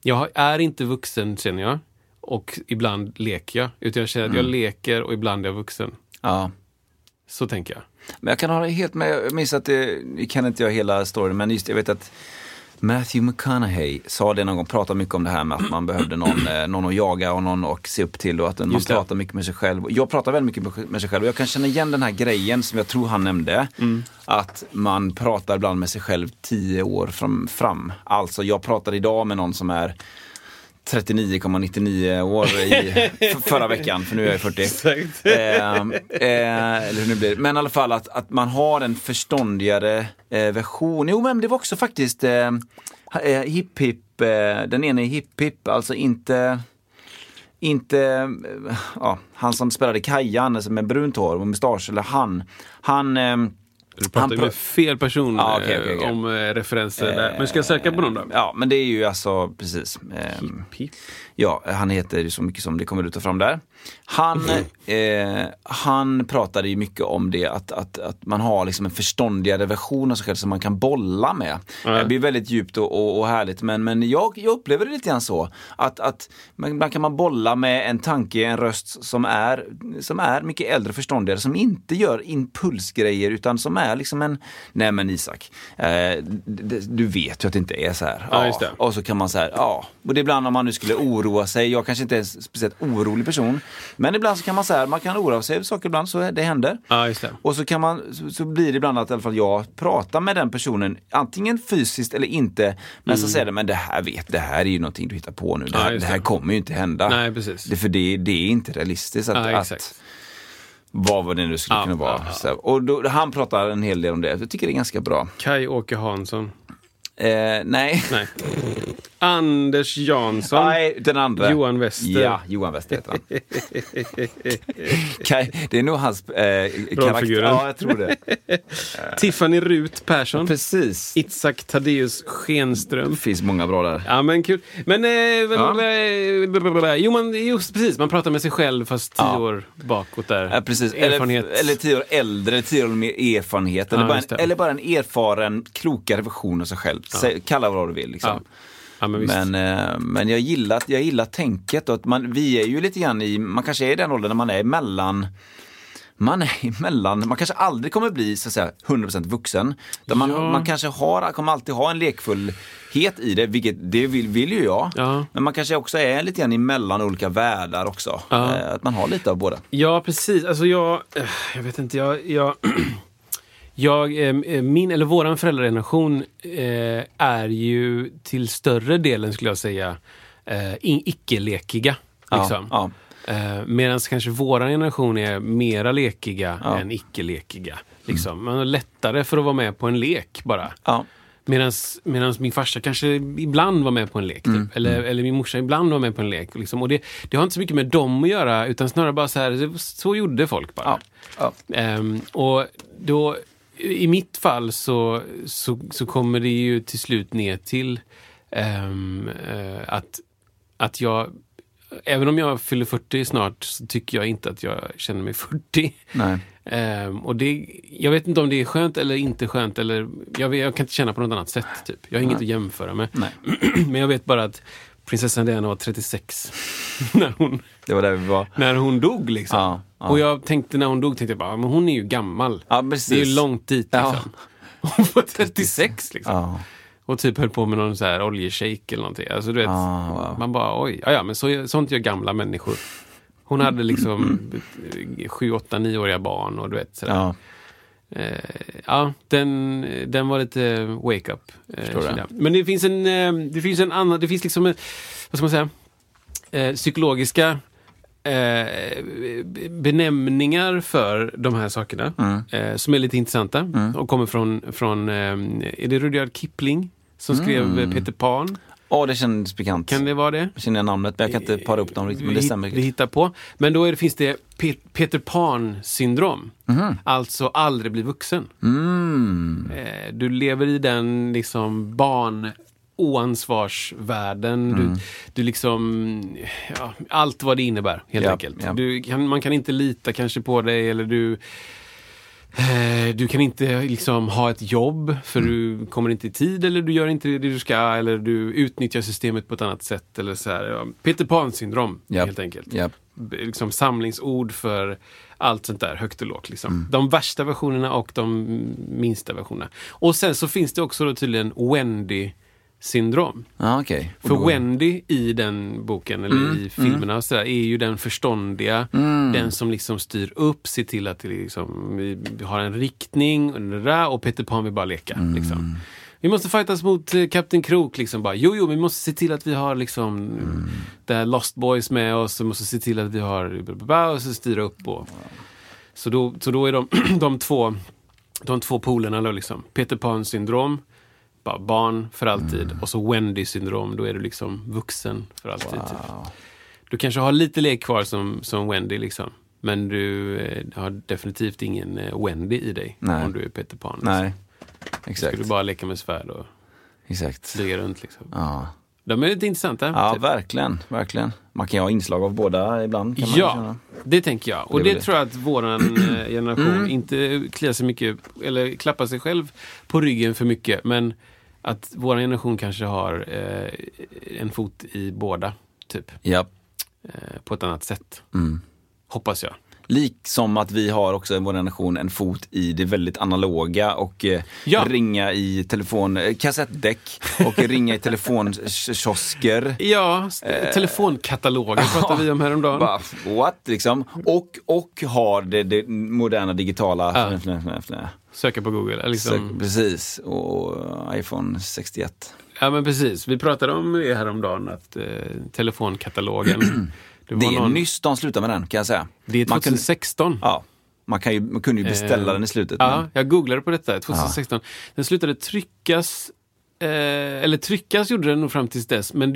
Jag har- är inte vuxen känner jag. Och ibland leker jag. Utan jag känner att Mm. jag leker och ibland är jag vuxen. Ja. Så tänker jag. Men jag kan hålla helt med. Jag minns att det, jag kan inte jag hela storyn, men just jag vet att Matthew McConaughey sa det någon gång, pratade mycket om det här med att man behövde någon, eh, någon att jaga och någon att se upp till och att man Just det. pratar mycket med sig själv. Jag pratar väldigt mycket med- med sig själv och jag kan känna igen den här grejen som jag tror han nämnde. Mm. Att man pratar ibland med sig själv tio år fram, fram. Alltså jag pratar idag med någon som är 39,99 år i f- förra veckan, för nu är jag ju 40. Exakt. Ehm, eh, eller hur nu blir. Men i alla fall att, att man har en förståndigare eh, version. Jo men det var också faktiskt eh, ha- eh, Hipp Hipp, eh, den ene i Hipp Hipp, alltså inte inte eh, ja, han som spelade Kajan alltså med brunt hår och mustasch, eller han. Han, ehm, Du han pratar ju pra- med fel person Ja, okej, eh, okej, okej. om eh, referenser där. Men ska jag söka på någon då? ja men det är ju alltså precis. ehm, Pip. Ja, han heter ju så mycket som det kommer ut och fram där. Han, Mhm. eh, han pratade ju mycket om det att, att, att man har liksom en förståndigare version av sig själv som man kan bolla med. Det blir väldigt djupt och, och, och härligt men, men jag, jag upplever det lite grann så. Att, att man, ibland kan man bolla med en tanke, en röst som är, som är mycket äldre och förståndigare som inte gör impulsgrejer utan som är liksom en, nej men Isak, eh, d- d- du vet ju att det inte är så här. Ja, just det. Och så kan man så här, ja. Och det är ibland om man nu skulle oroa sig. Jag kanske inte är en speciellt orolig person. Men ibland så kan man så här, man kan oroa sig över saker ibland, så är- det händer. Ja, just det. Och så, kan man, så, så blir det ibland att i alla fall jag pratar med den personen, antingen fysiskt eller inte. Men så säger den, men det här vet, det här är ju någonting du hittar på nu. Det Mm. Ja, här, just det här det. kommer ju inte hända. Nej, precis. Det, för det, det är inte realistiskt att, Ja, att exakt. vad var det nu skulle Ja, kunna vara. ja, ja. Så här. Och då, han pratar en hel del om det. Jag tycker det är ganska bra. Kai-Åke Hansson. Eh, nej. Nej. Anders Jansson. Nej, den andra. Johan Wester. Ja, Johan Wester heter han. Kaj, det är nog hans eh, karaktär. Rollfiguren. Ja, jag tror det. Tiffany Rut Persson. Precis. Itzhak Thaddeus Schenström. Det finns många bra där. Ja men kul. Men, eh, Ja. eh, blablabla. jo men just precis, man pratar med sig själv fast tio Ja. år bakåt där. Ja, precis. Erfarenhet. Eller, eller tio år äldre, tio år med erfarenhet. Eller, Ja, bara just det. en, eller bara en erfaren, klokare version av sig själv. Säg, kalla vad du vill. Liksom. ja. ja men visst. Men, eh, men jag gillar, jag gillar tänket och att man, vi är ju lite grann i, man kanske är i den åldern när man är mellan man är emellan, man kanske aldrig kommer bli så att säga 100% vuxen. Där man, Ja. man kanske har, kommer alltid ha en lekfullhet i det, vilket det vill, vill ju jag. Ja. Men man kanske också är lite grann emellan olika världar också. Ja. Eh, Att man har lite av båda. Ja precis, alltså jag, eh, jag vet inte, jag, jag, jag eh, min eller våran föräldrageneration eh, är ju till större delen skulle jag säga eh, in- icke-lekiga. Liksom. Ja, Eh, Medan kanske våran generation är mera lekiga Ja. än icke-lekiga. Liksom. Man har lättare för att vara med på en lek bara. ja, Medans, medans min farsa kanske ibland var med på en lek. Typ. Mm. Eller, eller min morsa ibland var med på en lek. Liksom. Och det, det har inte så mycket med dem att göra utan snarare bara så här, så gjorde folk bara. ja, ja. Ehm, och då, i mitt fall så, så, så kommer det ju till slut ner till ehm, eh, att, att jag, även om jag fyller 40 snart, så tycker jag inte att jag känner mig 40. Nej. Ehm, och det, jag vet inte om det är skönt eller inte skönt. Eller, jag, vet- jag kan inte känna på något annat sätt. Typ. Jag har inget att jämföra med. Nej. Men jag vet bara att prinsessan Diana var 36 när hon Det var där vi var. när hon dog liksom. Ja, ja. Och jag tänkte när hon dog, tänkte jag bara, men hon är ju gammal. Ja, precis. Det är ju långt dit Ja. liksom. Hon var 36 liksom. Ja, Och typ höll på med någon så här oljeshejk eller någonting. Alltså du vet, Ja, Ah, wow. man bara oj, ja, ja men så, sånt gör gamla människor. Hon hade liksom eh, sju, åtta, nioåriga barn och du vet sådär. ja. Eh, ja, den, den var lite wake up. eh, Förstår det. kände jag. Men det finns en, eh, det finns en annan, det finns liksom, en, vad ska man säga, eh, psykologiska eh, benämningar för de här sakerna Mm. eh, som är lite intressanta och kommer från, från eh, är det Rudyard Kipling som Mm. skrev eh, Peter Pan? Åh, det kändes bekant. Kan det vara det? Jag känner namnet men jag kan inte para upp dem riktigt. Men det vi, stämmer. Vi hittar på. Men då är det, finns det Pe- Peter Pan-syndrom. Mhm. Alltså aldrig bli vuxen. Mm. Eh, Du lever i den liksom barn oansvarsvärlden. Mm. Du, du liksom, ja, allt vad det innebär helt Ja, enkelt. ja. Du kan, man kan inte lita kanske på dig eller du eh, du kan inte liksom ha ett jobb för Mm. du kommer inte i tid eller du gör inte det du ska eller du utnyttjar systemet på ett annat sätt. Eller så här. ja. Peter Pan-syndrom Ja. helt enkelt Ja. b- liksom samlingsord för allt sånt där, högt och lågt. Liksom. De värsta versionerna och de minsta versionerna. Och sen så finns det också då tydligen Wendy-syndrom. Ja, Ah, okej. För Och då- Mm, Wendy i den boken, eller i filmerna och sådär, är ju den förståndiga. Den som liksom styr upp, ser till Mm. att det liksom, vi har en riktning och, det där, och Peter Pan vill bara leka. Liksom. Vi måste fightas mot eh, Kapten Krok liksom bara. Jo, jo, men vi måste se till att vi har liksom Mm. det här Lost Boys med oss. Vi måste se till att vi har bla, bla, bla, och så styra upp och... Så då, så då är de, de två de två polerna då liksom. Peter Pan syndrom, bara barn för alltid. Mm. Och så Wendy syndrom, då är du liksom vuxen för alltid. Typ. Du kanske har lite lek kvar som, som Wendy liksom. Men du eh, har definitivt ingen eh, Wendy i dig Nej. om du är Peter Pan. Liksom. Nej, Ska exakt. du bara leka med svärd och exakt. flyga runt liksom. Ja. De är lite intressanta. ja, typ. verkligen. verkligen. Man kan ju ha inslag av båda ibland. Kan man Ja, känna. det tänker jag. Och Det är det, väl det. Mm. tror jag att våran eh, generation inte kliar sig mycket, eller klappar sig själv på ryggen för mycket. Men att våran generation kanske har eh, en fot i båda, typ. ja. Eh, på ett annat sätt. Mm. Hoppas jag. Liksom att vi har också i vår generation en fot i det väldigt analoga och eh, Ja. ringa i telefon, eh, kassettdäck och ringa i telefonkiosker. Ja, s- telefonkataloger Eh, pratade vi om häromdagen. Bara, what liksom? Och, och har det, det moderna digitala. Söka på Google. eller Liksom. Så, precis, och iPhone 61. Ja, men precis. Vi pratade om det häromdagen, att eh, telefonkatalogen. Det var är nyss de slutar med den kan jag säga. Det är Man kunde- 2016. Ja, man, kan ju, man kunde ju beställa Eh, den i slutet. Ja, men- jag googlade på detta 2016. Den slutade tryckas, eh, eller tryckas gjorde den nog fram tills dess, men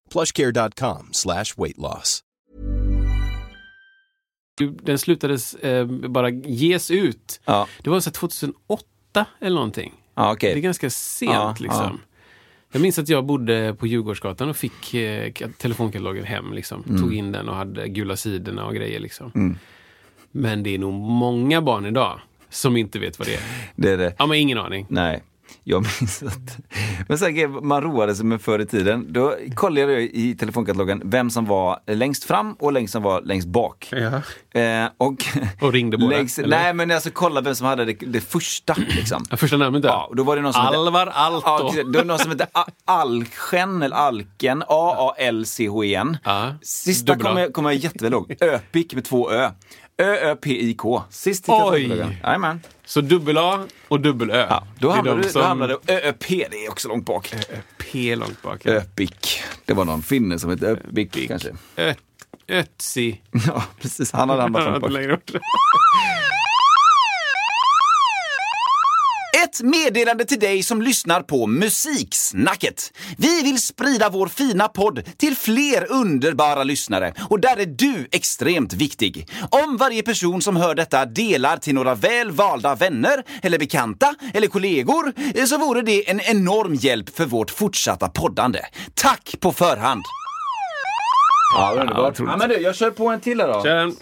plushcare.com slash weight loss. du- den slutades eh, bara ges ut. Ja, Det var så här 2008 eller någonting. ja Det är okej. ganska sent Ja, liksom. ja. Jag minns att jag bodde på Djurgårdsgatan och fick eh, ka- telefonkatalogen hem. Liksom. Mm. Tog in den och hade gula sidorna och grejer. Liksom. Men det är nog många barn idag som inte vet vad det är. Det är det. Ja, men ingen aning. Nej. Jag minns att... Men sen, grejen, man roade sig med förr i tiden. Då kollade jag i telefonkatalogen vem som var längst fram och vem som var längst bak. Eh, och, Och ringde båda, Längst, eller? nej, men alltså kolla vem som hade det, det första. Liksom. Ja, Första namnet där. Ja, och då var det någon som hette- Alvar Aalto. Ja, precis. det var någon som hette A- Alchen, eller Alken, A-A-L-C-H-E-N. Ja. E Sista Dubbel A. kommer jag, kommer jag jätteväl ihåg. Öpik med två Ö. Ö-Ö-P-I-K. Sist i Oj. katalogen. Jajamän. Så dubbel-A och dubbel-Ö. Ja, då Det är hamnade, de du, som- då hamnade ÖP, det är också långt bak. P långt bak. Öpik. Det var någon finne som hette Öpik kanske. Ö- Ötzi. Ja, precis. Han hade hamnat långt bak. Längre bort. Ett meddelande till dig som lyssnar på Musiksnacket. Vi vill sprida vår fina podd till fler underbara lyssnare och där är du extremt viktig. Om varje person som hör detta delar till några väl valda vänner eller bekanta eller kollegor eh, så vore det en enorm hjälp för vårt fortsatta poddande. Tack på förhand! Ja, underbart. Ja, men du, jag kör på en till då. Kör den.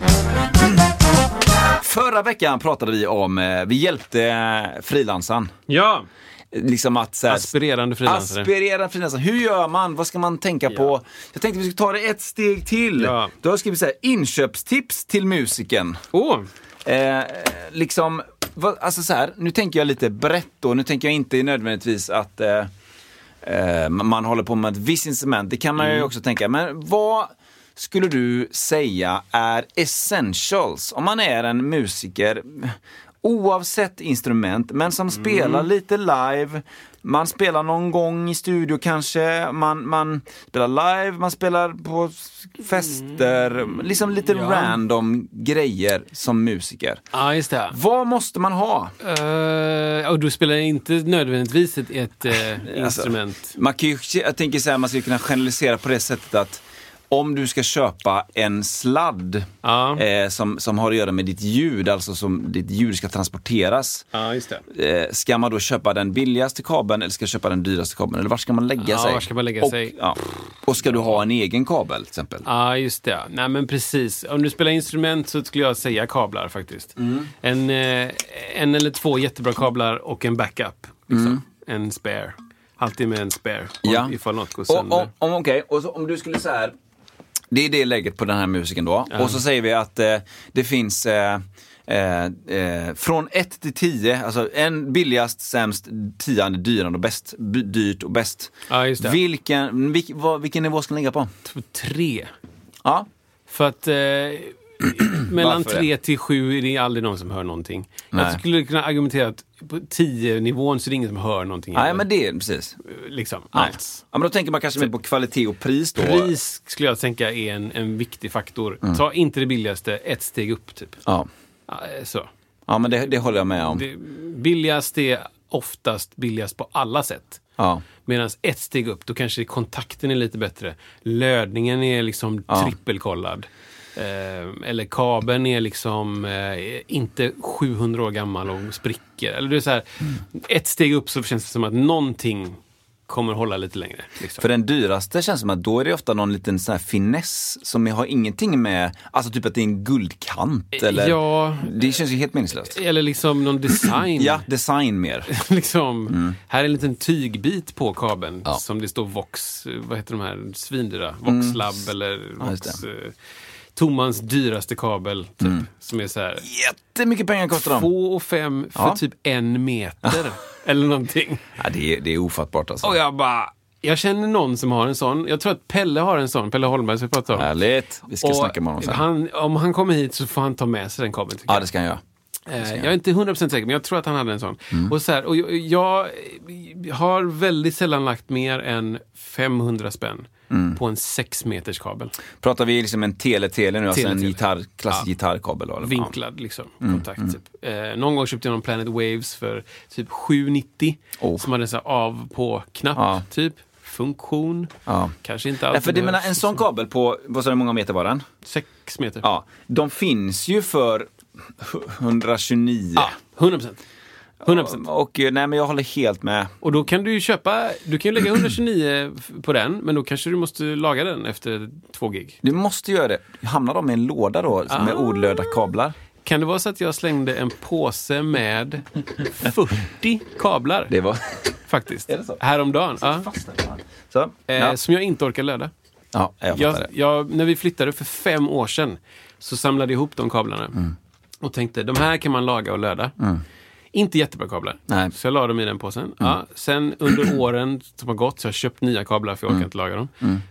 Förra veckan pratade vi om, eh, vi hjälpte eh, frilansaren. Ja, Liksom att så här, aspirerande frilansare. Aspirera frilansare. Hur gör man? Vad ska man tänka på? Jag tänkte vi skulle ta det ett steg till. Ja. Då har jag skrivit så här, inköpstips till musiken. Åh, Eh, liksom, vad, alltså så här, nu tänker jag lite brett då. Nu tänker jag inte nödvändigtvis att eh, eh, man håller på med ett visst instrument. Det kan man ju också tänka. Men vad skulle du säga är essentials om man är en musiker? Oavsett instrument, men som spelar lite live, Man spelar någon gång i studio kanske, man, man spelar live, man spelar på fester, liksom lite random grejer som musiker. Ja, just det. Vad måste man ha? Eh, och du spelar inte nödvändigtvis ett, ett Alltså. eh, instrument. Man kan ju, jag tänker så här, man skulle kunna generalisera på det sättet att om du ska köpa en sladd Ja. eh, som, som har att göra med ditt ljud, alltså som ditt ljud ska transporteras. Ja, just det. Eh, ska man då köpa den billigaste kabeln eller ska jag köpa den dyraste kabeln? Eller var ska man lägga Ja, sig? var ska man lägga och, sig? Ja. Och ska du ha en egen kabel till exempel? Ja, just det. Nej, men precis. Om du spelar instrument så skulle jag säga kablar faktiskt. Mm. En, eh, en eller två jättebra kablar och en backup. Liksom. En spare. Alltid med en spare. Mm. Ja. Ifall något går Och, sönder. och, om, okej, och så, om du skulle så här. Det är det läget på den här musiken då. Och så säger vi att eh, det finns eh, eh, eh, från 1 till 10, alltså en billigast, sämst, tian är dyrare och bäst, by, dyrt och bäst. Ja, just det. Vilken, vilk, vad, vilken nivå ska den ligga på? T- Tre. Ja, För att eh, mellan Varför det? tre till sju är det aldrig någon som hör någonting. Nej. Jag skulle kunna argumentera att på tio nivån så är det ingen som hör någonting. Nej, heller. men det är precis. Liksom, alls. Ja, men då tänker man kanske mer på kvalitet och pris då. Mm. Pris skulle jag tänka är en, en viktig faktor. Ta inte det billigaste, ett steg upp typ. Ja. Ja, eh, Så. Ja, men det, det håller jag med om. Det, billigast är oftast billigast på alla sätt. Ja. Medan ett steg upp, då kanske kontakten är lite bättre. Lödningen är liksom trippelkollad. Eh, eller kabeln är liksom eh, inte 700 år gammal och spricker. Eller det är så här, ett steg upp så känns det som att någonting kommer hålla lite längre. Liksom. För den dyraste känns det som att då är det ofta någon liten sån här finess som har ingenting med, alltså typ att det är en guldkant eller... Eh, Ja. Det känns ju helt meningslöst. Eller liksom någon design. Ja, design mer. liksom, Mm. Här är en liten tygbit på kabeln som det står Vox, eh, vad heter de här svindyra? Voxlab eller Mm. just Mm. Vox... eh, Tomans dyraste kabel, typ. Som är så här... Jättemycket pengar kostar de. Två och fem för Ja. typ en meter. eller någonting. Ja, det, är, det är ofattbart alltså. Och jag bara... Jag känner någon som har en sån. Jag tror att Pelle har en sån. Pelle Holmberg som vi pratade om. Härligt. Vi ska Och snacka med honom sen. han, om han kommer hit så får han ta med sig den kabeln. tycker Ja, jag. det ska Mm. han göra. Eh, jag är inte 100% säker, men jag tror att han hade en sån. Och, så här, och jag, jag har väldigt sällan lagt mer än 500 spänn Mm. på en 6 meters kabel. Pratar vi liksom en tele-tele nu, alltså en Tele-tele. gitarr, klassisk gitarrkabel? Då, eller? Vinklad liksom, Mm, kontakt. Typ. Eh, någon gång köpte jag någon Planet Waves för typ 790. Oh. Som hade en så här av på-knapp, Ja. typ. Funktion. Ja. Kanske inte Ja. alltid Nej, för det, menar, behövs. en sån kabel på, vad sa du, hur många meter var den? 6 meter. Ja, de finns ju för 129. Ja, 100%. 100%. Och eh, nej men jag håller helt med. Och då kan du ju köpa, du kan ju lägga 129 f- på den, men då kanske du måste laga den efter två gig. Du måste göra det. Hamnar de i en låda då som Ah. med olöda kablar? Kan det vara så att jag slängde en påse med 40 kablar? Det var... Faktiskt. Är det så? Häromdagen. Ja. Så. Eh, Ja. Som jag inte orkar löda. ja, jag fattar Jag, det. jag, när vi flyttade för fem år sedan så samlade jag ihop de kablarna. Mm. Och tänkte, de här kan man laga och löda. Inte jättebra kablar. Nej. Mm. Så jag la dem i den påsen. Ja, sen under åren som har gått så har jag köpt nya kablar för jag orkar Mm. inte laga dem.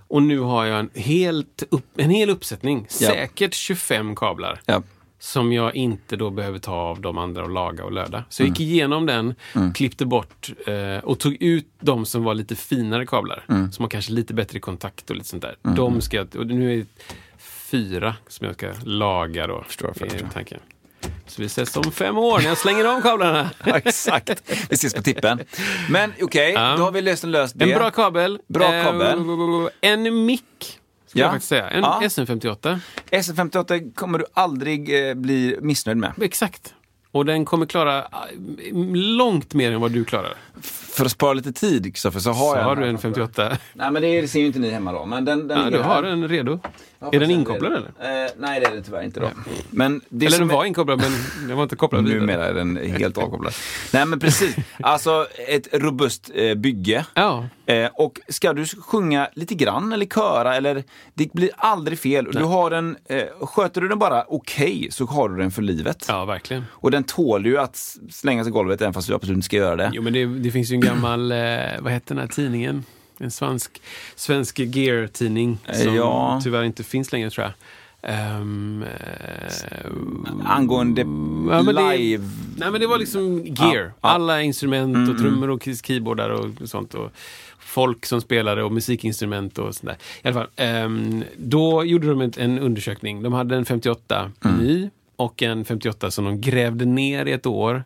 Och nu har jag en, helt upp, en hel uppsättning, Ja. säkert 25 kablar. Ja. som jag inte då behöver ta av de andra och laga och löda. Så jag gick Mm. igenom den, klippte bort eh, och tog ut de som var lite finare kablar. Mm. Som har kanske lite bättre kontakt och lite sånt där. De ska jag, och nu är det fyra som jag ska laga då. Förstår, förstår. Tanken. Så vi ses om fem år när jag slänger de kablarna. Exakt. Vi ses på tippen. Men okej, då har vi löst, löst det. En bra kabel. Bra Eh, kabel. En mick. Ska Ja. jag faktiskt säga. En Ja. SM58. SM58 kommer du aldrig eh, bli missnöjd med. Exakt. Och den kommer klara eh, långt mer än vad du klarar. För att spara lite tid, Kristoffer, så har Så jag har den du här. en 58. Nej, men det ser ju inte ni hemma då. Men den, den Ja, ligger du har här. den redo. Jag hoppas är den att det inkopplad eller? Eh, nej, det är den tyvärr inte då. Men det Eller som den är- var inkopplad men den var inte kopplad vidare. Numera är den helt avkopplad. Nej men precis. Alltså ett robust eh, bygge. Ja. Eh, och ska du sjunga lite grann eller köra eller det blir aldrig fel. Du har den, eh, sköter du den bara okej så har du den för livet. Ja, verkligen. Och den tål ju att s- slängas i golvet även fast du absolut inte ska göra det. Jo, men det, det finns ju en gammal, eh, vad hette den här tidningen? En svensk, svensk gear-tidning som Eh, ja. tyvärr inte finns längre tror jag. Ehm, eh, Angående men det- live Mm, Nej, men det var liksom gear. Alla instrument och trummor och keys- keyboardar och sånt. Och folk som spelade och musikinstrument och sånt där. I alla fall, ehm, då gjorde de ett- en undersökning. De hade en 58 Mm. ny och en 58 som de grävde ner i ett år.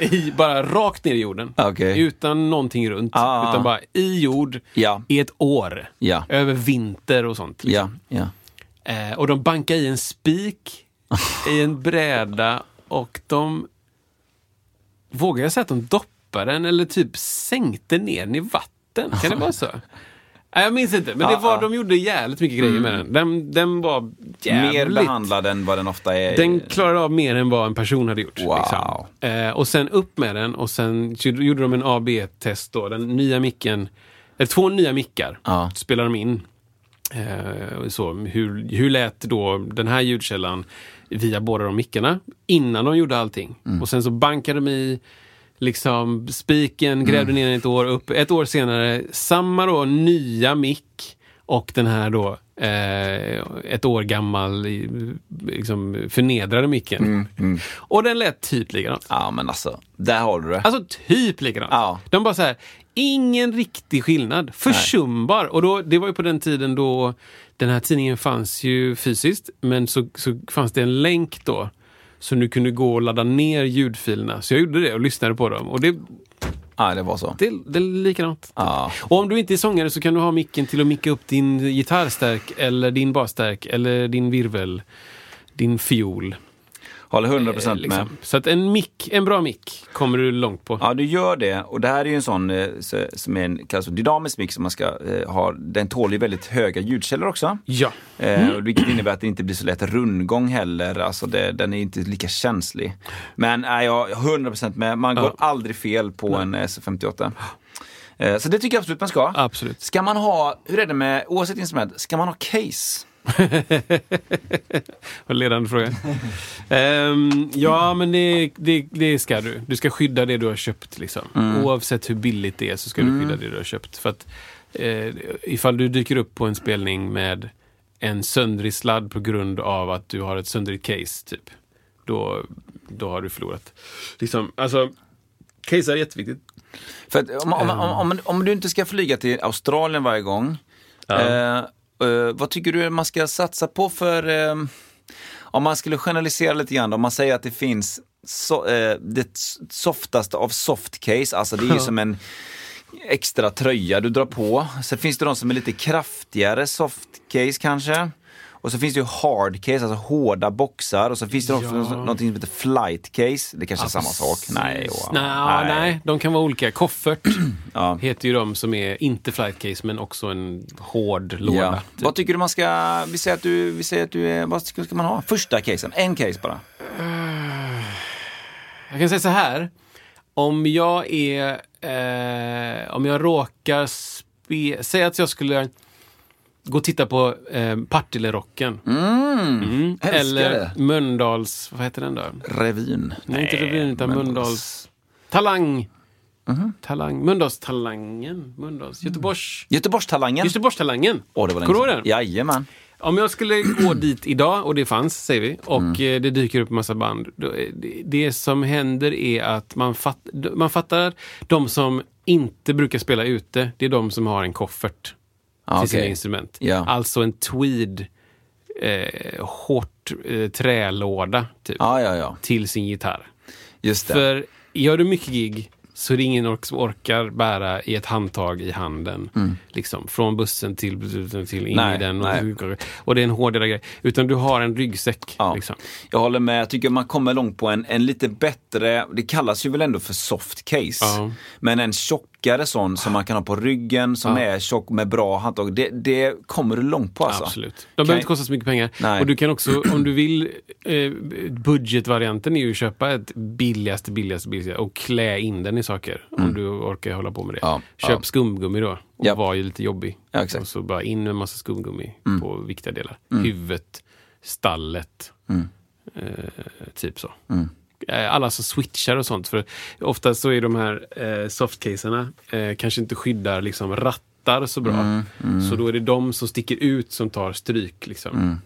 I, bara rakt ner i jorden. Okej. Utan någonting runt. Ah. Utan bara i jord, Ja. i ett år. Ja. Över vinter och sånt. liksom. Ja, ja. Eh, och de bankade i en spik i en bräda och de... Vågar jag säga att de doppade den eller typ sänkte ner den i vatten? Kan det vara så? Nej, jag minns inte, men det var, de gjorde jävligt mycket grejer med den. Den, den var Mer jävligt... behandlad än vad den ofta är. i- Den klarade av mer än vad en person hade gjort. Wow. Eh, och sen upp med den och sen gjorde de en AB-test då. Den nya micken, eller två nya mickar Ja. spelade de in. Eh, och så, hur, hur lät då den här ljudkällan via båda de mickarna innan de gjorde allting? Mm. Och sen så bankade de i liksom spiken, Mm. grävde ner den ett år upp. Ett år senare, samma då nya mick och den här då eh, ett år gammal i- liksom förnedrade micken. Mm, Och den lät typ likadant. Ja, men alltså. Där har du det. Alltså typ likadant. Ja. De bara så här, ingen riktig skillnad. Försumbar. Och då, det var ju på den tiden då den här tidningen fanns ju fysiskt, men så, så fanns det en länk då. Så du kunde gå och ladda ner ljudfilerna. Så jag gjorde det och lyssnade på dem. Och det, Ja, det var så. det, det är likadant. Ja. Och om du inte är sångare så kan du ha micken till att micka upp din gitarrstärk eller din basstärk eller din virvel, din fiol. Håller 100 eh, procent med. Liksom. Så att en mick, en bra mick kommer du långt på. Ja, du gör det. Och det här är ju en sån eh, så- som är en kallas för dynamisk mix som man ska eh, ha. Den tål ju väldigt höga ljudkällor också. ja. Eh, och vilket innebär att det inte blir så lätt rundgång heller. Alltså det, den är inte lika känslig. Men nej, jag är 100% med. Man går aldrig fel på en S58. Eh, så det tycker jag absolut man ska. Absolut. Ska man ha, hur är det med, oavsett instrument, ska man ha case? Vad ledande fråga. Ehm, ja, men det, det, det ska du. Du ska skydda det du har köpt. Liksom. Mm. Oavsett hur billigt det är så ska du skydda det du har köpt. För att eh, ifall du dyker upp på en spelning med en söndrig sladd på grund av att du har ett söndrigt case, typ. Då, då har du förlorat. Liksom, alltså, case är jätteviktigt. För att om, om, om, om, om du inte ska flyga till Australien varje gång, eh, eh, vad tycker du man ska satsa på för... Eh, om man skulle generalisera lite grann, då, om man säger att det finns so, eh, det s- softaste av softcase, alltså det är ju som en extra tröja du drar på. Sen finns det de som är lite kraftigare softcase kanske. Och så finns det ju hardcase, alltså hårda boxar. Och så finns det också Ja. någonting som heter flightcase. Det kanske är samma sak? Nej. Precis. och- Nå, nej, de kan vara olika. Koffert Ja. heter ju de som är inte flight case, men också en hård låda. typ. Ja. typ. Vad tycker du man ska, vi säger att du, vi säger att du är, vad ska ska man ha? Första casen, en case bara. Jag kan säga så här. Om jag är... Eh, om jag råkar spe... Säg att jag skulle gå och titta på eh, Partille-rocken. Mm. älskar Eller det. Mölndals... Vad heter den då? Revyn. Nej, inte Revyn, utan Mölndals... Talang. Mhm. Talang. Mölndals Talangen. Mölndals... Göteborgs... Göteborgstalangen. Göteborgstalangen. Mm. Åh, det var Kommer du ihåg länge den? sedan. Jajamän. Om jag skulle gå dit idag, och det fanns, säger vi, och Mm. eh, det dyker upp en massa band. då är det- Det som händer är att man, fatt, man fattar de som inte brukar spela ute, det är de som har en koffert Ja, till sina Ah, okej. instrument. Ja. Alltså en tweed, eh, hårt eh, trälåda, typ, Ja, ja, ja. till sin gitarr. Just det. För gör du mycket gig så är det ingen ork- som orkar bära i ett handtag i handen. Liksom, från bussen till, till in Mm. Nej, i den. nej. Och, och det är en hårdare grej. Utan du har en ryggsäck. Ja. Liksom. Jag håller med. Jag tycker man kommer långt på en, en lite bättre, det kallas ju väl ändå för soft case. Ja. Men en tjockare sån som man kan ha på ryggen, som är tjock med bra handtag. Det, det kommer du långt på alltså. Absolut. De Kan- behöver inte kosta så mycket pengar. Nej. Och du kan också, om du vill, eh, budgetvarianten är ju att köpa ett billigaste, billigaste, billigaste och klä in den i saker. Om du orkar hålla på med det. Mm. Ja, Köp ja. skumgummi då. Och Ja. var ju lite jobbig. Ja, exakt. Mm. Och Liksom. så bara in med en massa skumgummi på viktiga delar. Huvudet, stallet, Mm. eh, typ så. Eh, Alla som switchar och sånt. För ofta så är de här eh, softcaserna eh, kanske inte skyddar liksom Mm, Mm. rattar så bra. Så då är det de som sticker ut som tar stryk. Liksom.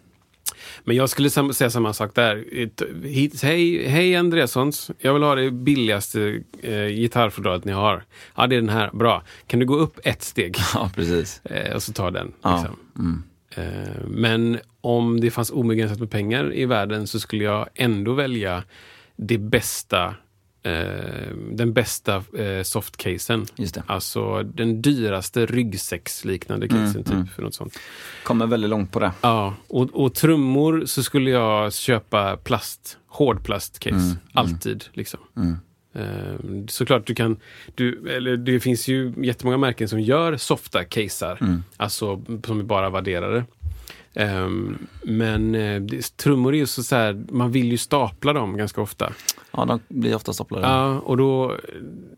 Men jag skulle sam säga samma sak där. Ett- hit- Hej, hej Andreassons, jag vill ha det billigaste eh, gitarrfodralet ni har. Ja, det är den här. Bra. Kan du gå upp ett steg? Ja, precis. Eh, och så ta den. Ja, Mm. Liksom. Eh, men om det fanns obegränsat med pengar i världen så skulle jag ändå välja det bästa, eh, den bästa eh, softcasen. Just det. Alltså den dyraste ryggsäcksliknande Mm, casen, typ. För något sånt. Kommer väldigt långt på det. Ja, och, och trummor så skulle jag köpa plast, hårdplastcase. Alltid liksom. Eh, Såklart du kan, du, eller det finns ju jättemånga märken som gör softa casear. Alltså som är bara vadderade. Eh, men eh, det, trummor är ju så, så här, man vill ju stapla dem ganska ofta. Ja, de blir ofta stopplade. Ja, och då...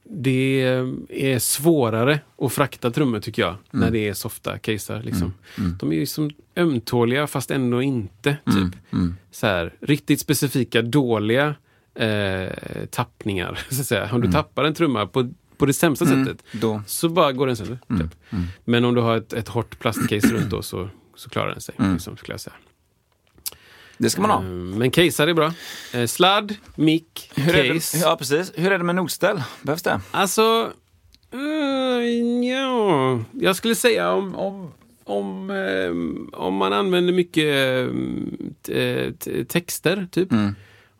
Det är svårare att frakta trummor tycker Mm. jag, när det är softa casear. Liksom. De är ju som ömtåliga fast ändå inte. Typ. Mm. Så här, riktigt specifika, dåliga eh, tappningar. Så att säga. Om du tappar en trumma på, på det sämsta sättet Mm. Då. Mm. så bara går den sönder. Typ. Men om du har ett, ett hårt plastcase runt då så, så klarar den sig. Mm. Liksom, skulle jag säga. Det ska man ha. Eh, Men casear är bra. Eh, sladd, mick, Hur är case. det, ja, precis. Hur är det med notställ? Behövs det? Alltså, eh, ja, jag skulle säga om, om, om, eh, om man använder mycket eh, t- t- texter, typ.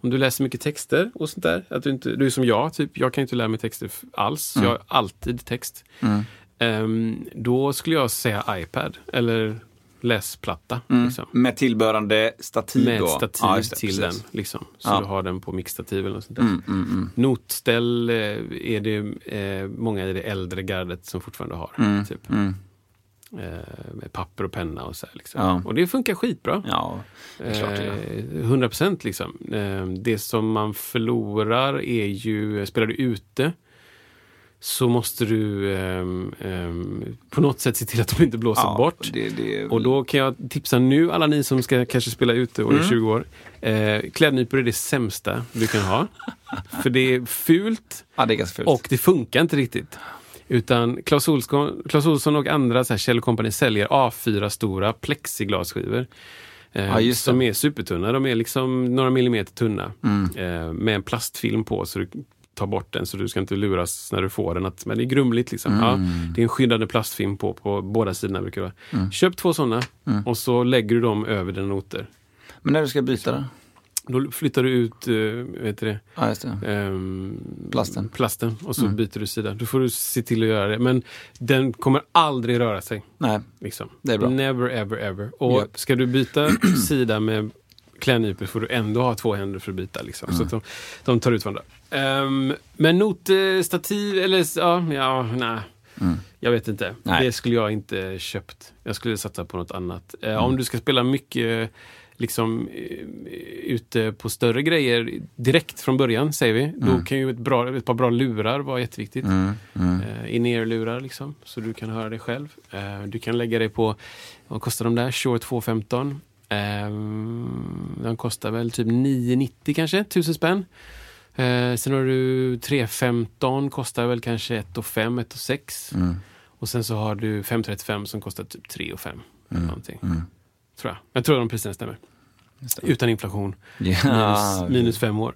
Om du läser mycket texter och sånt där. Att du, inte, du är som jag, typ. jag kan inte lära mig texter f- alls. så Jag har alltid text. Ehm, då skulle jag säga iPad eller läsplatta. Liksom. Med tillbörande stativ Med då? ett stativ Ja, just det, till precis. den. Liksom. Så Ja. Mm, du har den på mixstativ eller något sånt där. Notställ eh, är det eh, många i det äldre gardet som fortfarande har. Mm, Typ. Eh, med papper och penna och så här, liksom. Ja. Och det funkar skitbra. Ja, det är klart det gör. Eh, 100 procent liksom. Eh, Det som man förlorar är ju, spelar du ute så måste du ehm, ehm, på något sätt se till att de inte blåser Ja, bort. Det, det, Och då kan jag tipsa nu alla ni som ska kanske spela ute och är 20 år. Eh, klädnypor är det sämsta du kan ha. För det är fult ja, det är ganska fult. och det funkar inte riktigt. Utan Clas Ohlson, Clas Ohlson och andra så här, Kjell Company säljer A4 stora plexiglasskivor. Eh, Ja, just det. Mm. som är supertunna. De är liksom några millimeter tunna. Eh, med en plastfilm på så du tar bort den så du ska inte luras när du får den. Att, men det är grumligt liksom. Ja, Mm. det är en skyddande plastfilm på, på båda sidorna. Brukar det vara. Köp två sådana Mm. och så lägger du dem över dina noter. Men när du ska byta då? Då flyttar du ut, eh, vet du det? Ja, just det. Ehm, Plasten. Mm. plasten och så byter du sida. Då får du se till att göra det. Men den kommer aldrig röra sig. Nej, Liksom. Det är bra. Never ever ever. Och Japp. ska du byta sida med klädnypor får du ändå ha två händer för att byta. Liksom. Mm. Så att de, de tar ut varandra. Ehm, men notstativ, eller s- ja, ja nej. Jag vet inte. Nej. Det skulle jag inte köpt. Jag skulle satsa på något annat. Eh, Om du ska spela mycket liksom eh, ute på större grejer direkt från början, säger vi, då kan ju ett, bra, ett par bra lurar vara jätteviktigt. Eh, In-ear-lurar liksom, så du kan höra dig själv. Eh, Du kan lägga dig på, vad kostar de där? Shure 215. Ehm, De kostar väl typ 990 kanske, 1000 spänn. Eh, sen har du 315, kostar väl kanske 1 och 5, 1 och 6. Mm, Och sen så har du 535 som kostar typ 3 och 5. Eller mm, någonting. Tror jag. Jag tror att de priserna stämmer. Utan inflation. Ja, Minus, minus fem år.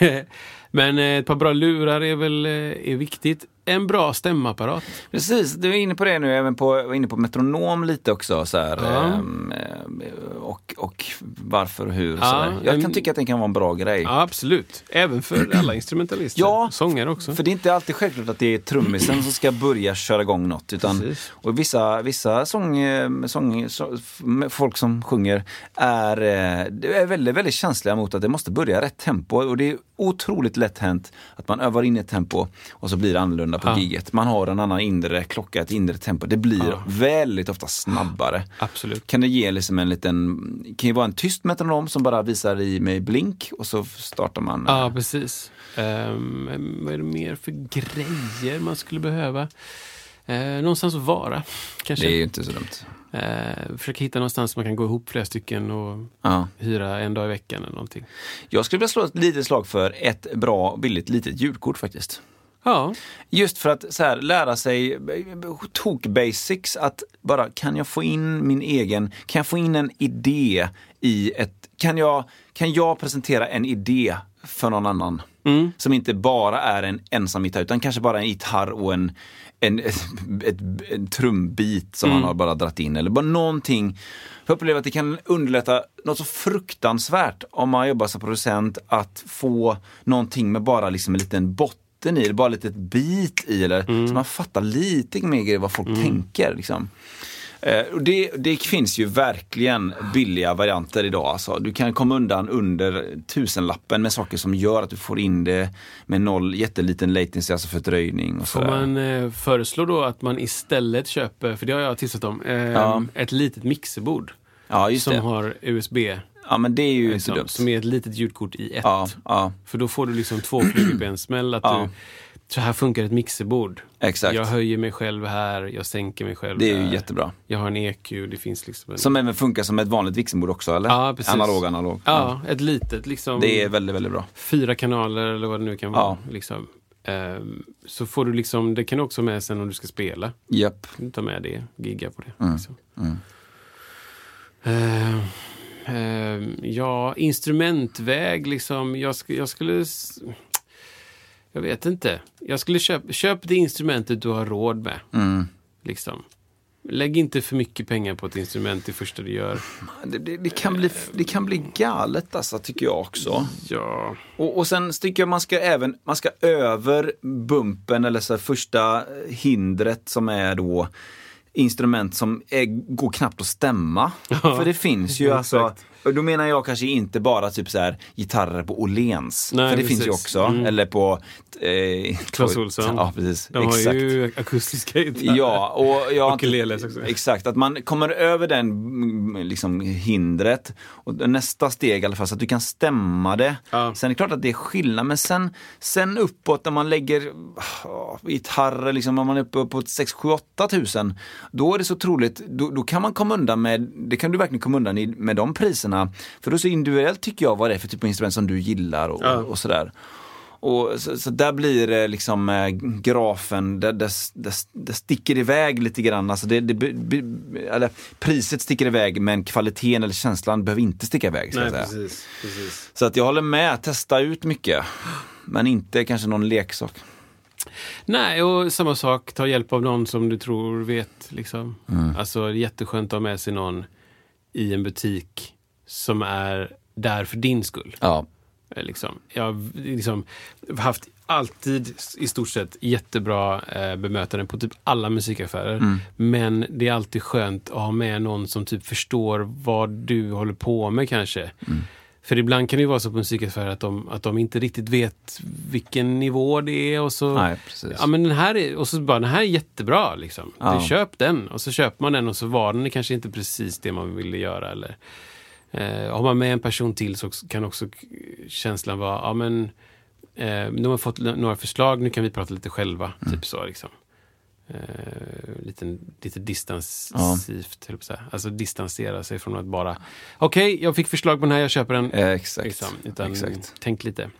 Eh, Men eh, ett par bra lurar är väl eh, är viktigt. En bra stämapparat. precis. Du är inne på det nu, även på, var inne på metronom lite också. Så här, Ja. ehm, eh, och, och varför och hur. och Ja, så där. Jag kan ehm, tycka att det kan vara en bra grej. Ja, absolut. Även för alla instrumentalister. Ja, Sångare också. Mm. För det är inte alltid självklart att det är trummisen som ska börja köra igång något. Utan, Precis. och vissa, vissa sång, eh, sång, så- f- med folk som sjunger är, eh, det är väldigt, väldigt känsliga mot att det måste börja i rätt tempo. Och det är otroligt lätt hänt att man övar in ett tempo och så blir det annorlunda på Ja. giget. Man har en annan inre klocka, ett inre tempo. Det blir väldigt ofta snabbare. Absolut. Kan det ge liksom en liten, kan ju vara en tyst metronom som bara visar i mig blink och så startar man. eh, Ja, precis. Ehm, vad är det mer för grejer man skulle behöva? Eh, någonstans att vara, kanske. Det är ju inte så dumt. Eh, försöka hitta någonstans man kan gå ihop flera stycken och Ja. hyra en dag i veckan eller någonting. Jag skulle vilja slå ett litet slag för ett bra, billigt, litet julkort faktiskt. Ja, Just för att så här, lära sig b- b- tok basics, att bara kan jag få in min egen, kan jag få in en idé i ett... Kan jag, kan jag presentera en idé för någon annan? Som inte bara är en ensam gitarr utan kanske bara en gitarr och en, en, ett, ett, en trumbit som Mm. han har bara dratt in. Eller bara någonting. För jag upplever att det kan underlätta något så fruktansvärt om man jobbar som producent att få någonting med bara liksom en liten botten botten i, det är bara lite ett bit i eller Mm. så man fattar lite mer grejer vad folk tänker. Liksom. Eh, och det, det finns ju verkligen billiga varianter idag. Alltså. Du kan komma undan under tusenlappen med saker som gör att du får in det med noll jätteliten latency, alltså fördröjning och Får sådär. man eh, föreslå då att man istället köper, för det har jag tipsat om, eh, Ja. ett litet mixerbord Ja, just som det. har USB. Ja, men det är ju inte Liksom, dumt. eh, som är ett litet ljudkort i ett. Ja, ja, För då får du liksom två flugor på en smäll. Att Ja. du, så här funkar ett mixerbord. exakt. Jag höjer mig själv här, jag sänker mig själv Det är ju där. jättebra. Jag har en EQ, det finns liksom en... Som även funkar som ett vanligt vixenbord också, eller? Ja, precis. Analog, analog. Ja, ett litet liksom. Det är väldigt, väldigt bra. Fyra kanaler eller vad det nu kan vara. Ja. Liksom. Ehm, så får du liksom, det kan du också ha med sen om du ska spela. Japp. Du tar med det, gigga på det. Mm, Liksom. Ehm, ehm, ja, instrumentväg liksom. Jag, sk- jag skulle... s- Jag vet inte. Jag skulle köpa, köp det instrumentet du har råd med. Mm. Liksom. Lägg inte för mycket pengar på ett instrument det första du gör. Det, det, det, kan bli, det kan bli galet alltså, tycker jag också. Ja, Och, och sen tycker jag man ska även, man ska över bumpen eller så här första hindret som är då instrument som är, går knappt att stämma. För det finns ju alltså, exakt. och då menar jag kanske inte bara typ så här gitarrer på Åhléns. Nej, För det finns ju precis. också. Eller på... Eh, Clas Ohlson. Ja, precis. de har exakt. ju akustiska gitarrer. Ja, och jag... Ukuleles också. Exakt, att man kommer över den mm, liksom, hindret. Och nästa steg i alla fall, så att du kan stämma det. Ja. Sen är det klart att det är skillnad, men sen, sen uppåt när man lägger ah, gitarrer, liksom, när man är uppe på 6 7 8 tusen. Då är det så troligt, då, då kan man komma undan med, det kan du verkligen komma undan i, med de priserna. För då är det så individuellt tycker jag vad det är för typ av instrument som du gillar och, Ja. och sådär. Och så, så där blir det liksom eh, grafen, där, där, där, där sticker det iväg lite grann. Alltså det, det, be- be- eller, priset sticker iväg men kvaliteten eller känslan behöver inte sticka iväg. Ska Nej, jag säga. precis, precis. Så att jag håller med, testa ut mycket. Men inte kanske någon leksak. Nej, och samma sak, ta hjälp av någon som du tror vet. Liksom. Alltså, det är jätteskönt att ha med sig någon i en butik som är där för din skull. Ja. Eh, Liksom. Jag har liksom, haft alltid i stort sett jättebra eh, bemötande på typ alla musikaffärer. Men det är alltid skönt att ha med någon som typ förstår vad du håller på med kanske. För ibland kan det ju vara så på musikaffärer att de, att de inte riktigt vet vilken nivå det är och så Nej, precis. Ja, men den här är, och så bara, den här är jättebra liksom. Ja. Du, köp den. Och så köper man den och så var den kanske inte precis det man ville göra. Eller, eh, har man med en person till så också- kan också k- känslan vara, ja men eh, nu har man fått n- några förslag, nu kan vi prata lite själva. Mm. Typ så liksom. Eh, lite, lite distansivt, höll jag på att säga. alltså distansera sig från att bara, okej, jag fick förslag på den här, jag köper den. Eh, exakt. Liksom, utan exakt. tänk lite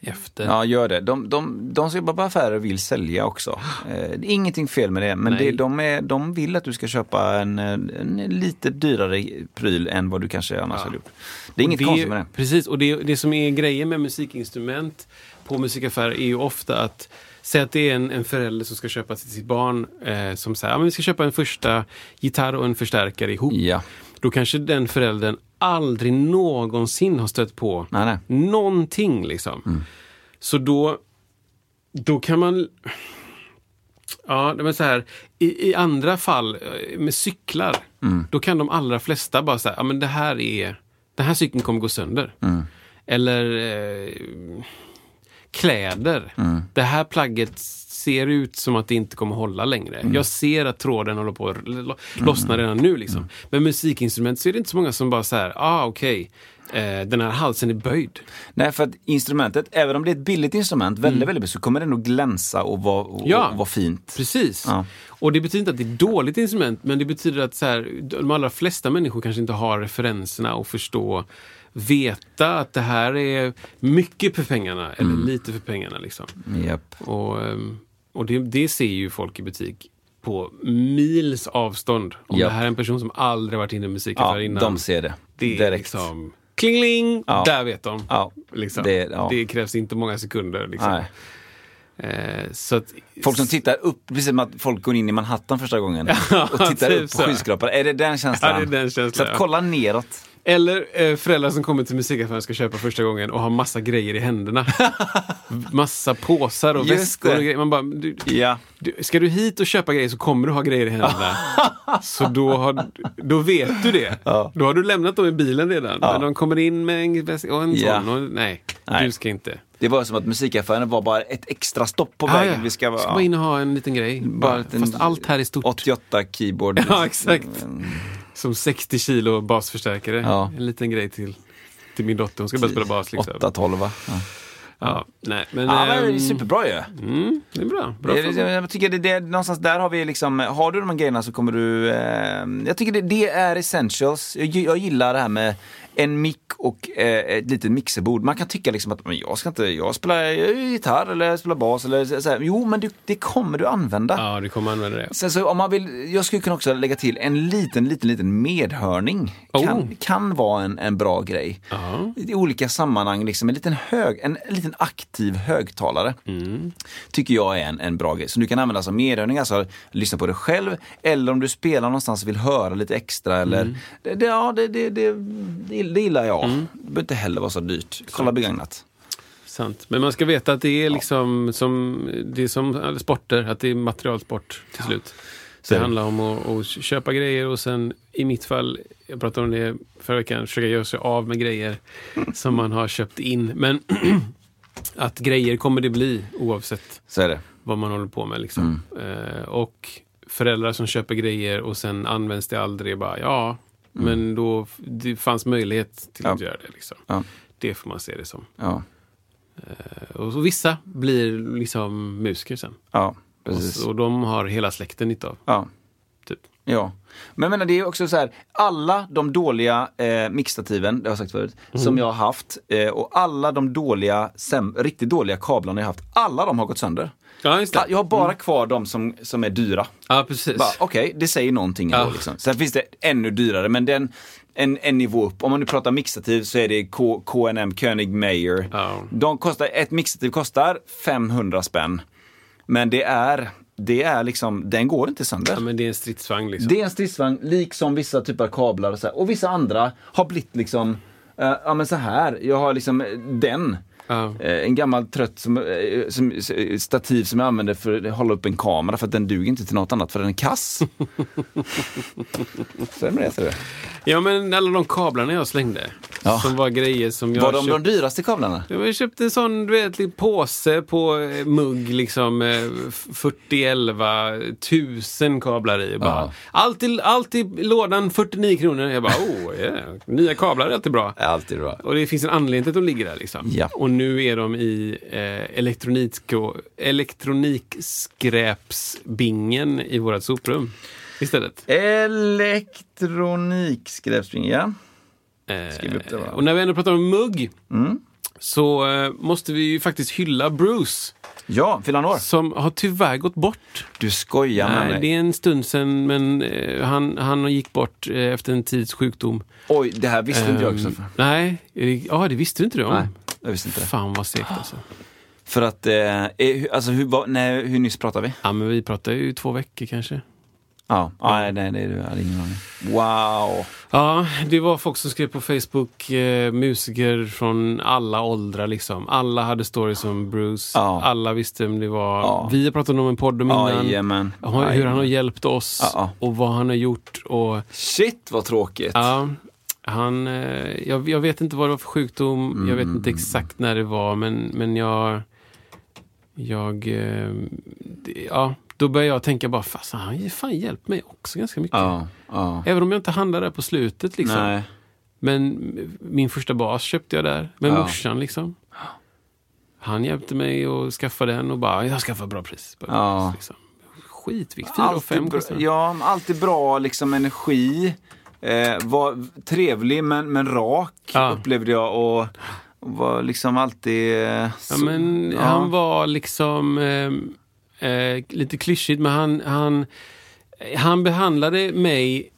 efter. Ja, gör det. De, de, de som jobbar på affärer vill sälja också. Eh, det är ingenting fel med det, men Nej. det, de, är, de vill att du ska köpa en, eh, en lite dyrare pryl än vad du kanske annars hade gjort. Det är inget det, konstigt med det. Precis, och det, det som är grejen med musikinstrument på musikaffärer är ju ofta att Säg att det är en, en förälder som ska köpa till sitt barn eh, som säger att vi ska köpa en första gitarr och en förstärkare ihop. Ja. Då kanske den föräldern aldrig någonsin har stött på Nej, nej. Mm. någonting. Liksom. Så då, då kan man... Ja, men så här, i, I andra fall eh, med cyklar, Mm. då kan de allra flesta bara säga, ja men det här är, den här cykeln kommer gå sönder. Mm. Eller eh, kläder. Det här plagget ser ut som att det inte kommer hålla längre. Jag ser att tråden håller på att lo- lossna redan nu. Liksom. Men musikinstrument så är det inte så många som bara så här, ah okej, eh, den här halsen är böjd. Nej, för att instrumentet, även om det är ett billigt instrument, väldigt, väldigt billigt, så kommer det nog glänsa och vara och, Mm. Ja. och vara fint. Precis. Ja. Och det betyder inte att det är ett dåligt instrument, men det betyder att så här, de allra flesta människor kanske inte har referenserna och förstå, veta att det här är mycket för pengarna eller lite för pengarna. Liksom. Japp. Och, ehm, och det, det ser ju folk i butik på mils avstånd. Om Japp. det här är en person som aldrig varit inne i musikaffär Ja, innan. de ser det. Det är Direkt. liksom klingling, Ja. där vet de. Ja. Liksom. Det- Det, ja. krävs inte många sekunder. Liksom. Nej. Eh, så att, Folk som tittar upp, precis som att folk går in i Manhattan första gången och tittar typ upp på så. skyskrapan. Är det den känslan? Ja, det är den känslan, Så att ja. kolla neråt. Eller eh, föräldrar som kommer till musikaffären och ska köpa första gången och har massa grejer i händerna. massa påsar och Just väskor och det. grejer. Man bara, du, Ja. du, ska du hit och köpa grejer så kommer du ha grejer i händerna. så då, har, då vet du det. Då har du lämnat dem i bilen redan. Men de kommer in med en väska och en Ja. sån. Och, nej, Nej. du ska inte. Det var som att musikaffären var bara ett extra stopp på Ah, vägen. ja. Vi ska, vara- bara in och ha en liten grej. Bara, liten Fast allt här är stort. 88 keyboard. Ja, exakt. Som 60 kilo basförstärkare. Ja. En liten grej till, till min dotter. Hon ska börja spela bas. Liksom. 812 va? Ja. Ja, nej, men, Ja, men det är ehm, mm, superbra ju. det är bra. bra jag, fråga. jag, jag tycker det, det, någonstans där har vi liksom, har du de här grejerna så kommer du, eh, jag tycker det, det är essentials. Jag, jag gillar det här med en mick och eh, ett litet mixerbord. Man kan tycka liksom att men jag ska inte, jag spelar eh, gitarr eller jag spelar bas eller så så här. Jo men du, det kommer du använda. Ja, du kommer använda det. Sen så om man vill, jag skulle kunna också lägga till en liten, liten, liten medhörning. Kan, Oh. kan vara en, en bra grej. Ja. I olika sammanhang, liksom en liten, hög, en, en liten aktiv högtalare. Mm. Tycker jag är en, en bra grej. Som du kan använda som medhörning, alltså lyssna på dig själv. Eller om du spelar någonstans och vill höra lite extra. Eller, Mm. det, det, ja, det, det, det, det gillar jag. Det behöver inte heller vara så dyrt. Kolla begagnat. Sant. Men man ska veta att det är liksom som, det är som alla sporter, att det är materialsport till slut. Så det handlar om att, att köpa grejer och sen i mitt fall, jag pratade om det förra veckan, försöka göra sig av med grejer som man har köpt in. Men att grejer kommer det bli oavsett Så är det. vad man håller på med. Liksom. Eh, och föräldrar som köper grejer och sen används det aldrig. Bara, ja, men då f- det fanns möjlighet till att Ja. göra det. Liksom. Ja. Det får man se det som. Ja, Och så vissa blir liksom musiker sen. ja Och, precis. s- och de har hela släkten nytta av. Ja. Typ. Ja, men jag menar det är också så här, alla de dåliga eh, mixstativen, det har jag sagt förut, Mm. som jag har haft eh, och alla de dåliga, säm- riktigt dåliga kablarna jag har haft, alla de har gått sönder. Ja, just det. Mm. Jag har bara kvar de som, som är dyra. Ja, precis. Ah, Bara, Okej, det säger någonting ändå, Ja. liksom. Sen finns det ännu dyrare, men den, en, en nivå upp. Om man nu pratar mixativ så är det K, KNM, König Mayer. Ja. De kostar, ett mixativ kostar 500 spänn. Men det är, det är liksom, den går inte sönder. Ja, men det är en stridsvagn liksom. Det är en stridsvagn, liksom vissa typer av kablar och så här. Och vissa andra har blivit liksom, eh, ja men så här, jag har liksom eh, den. Ja. Eh, en gammal trött som, eh, som, s- eh, stativ som jag använder för att hålla upp en kamera för att den duger inte till något annat för den är kass. så är det med det, ser du. Ja, men alla de kablarna jag slängde. Ja. Som var grejer som jag Var de köpte. de dyraste kablarna? Ja, men Jag köpte en sån du vet, liten påse på eh, mugg, liksom eh, f- 40 11 tusen kablar i. Bara, Ja. allt, i, allt i lådan 49 kronor. Jag bara, oh, yeah. nya kablar är alltid bra. Alltid bra. Och det finns en anledning till att de ligger där. Liksom. Ja. Och nu är de i eh, elektronik- elektronikskräpsbingen i vårt soprum istället. Elektronikskräpspringer, ja. Eh, Skriv upp det bara. och när vi ändå pratar om mugg Mm. så eh, måste vi ju faktiskt hylla Bruce. Ja, fyller han år? Som har tyvärr gått bort. Du skojar med Nej, mig. det är en stund sedan, men eh, han, han gick bort eh, efter en tids sjukdom. Oj, det här visste inte jag också. Ehm, Nej, eh, ja, det visste du inte du om. Nej, jag visste inte det. Fan vad segt alltså. För att, eh, eh, hur- alltså hur, vad- nej, hur nyss pratar vi? Ja, men vi pratar ju två veckor kanske. Ja, nej, nej, nej, du hade ingen aning. Wow! Ja, det var folk som skrev på Facebook, eh, musiker från alla åldrar liksom. Alla hade stories om Bruce. Ja. Alla visste vem det var. Ja. Vi har pratat om en podd om innan. Jajamän. Hur han har hjälpt oss Ja, och vad han har gjort. Och, Shit vad tråkigt! ja, han, eh, jag, jag vet inte vad det var för sjukdom. Jag vet Mm. inte exakt när det var, men, men jag... jag eh, det, ja, då började jag tänka bara, fasen han fan hjälpt mig också ganska mycket. ja, ja. Även om jag inte handlade där på slutet liksom. Nej. Men min första bas köpte jag där med Ja. morsan liksom. Han hjälpte mig att skaffa den och bara, jag skaffar bra pris. Bara, Ja. liksom. Skitvikt, 4 och Alltid, 5 bra, kostar den. ja, alltid bra liksom energi. Eh, var trevlig men, men rak Ja. upplevde jag och var liksom alltid... eh, Ja, så- men ja. han var liksom eh, eh, lite klyschigt, men han, han, han behandlade mig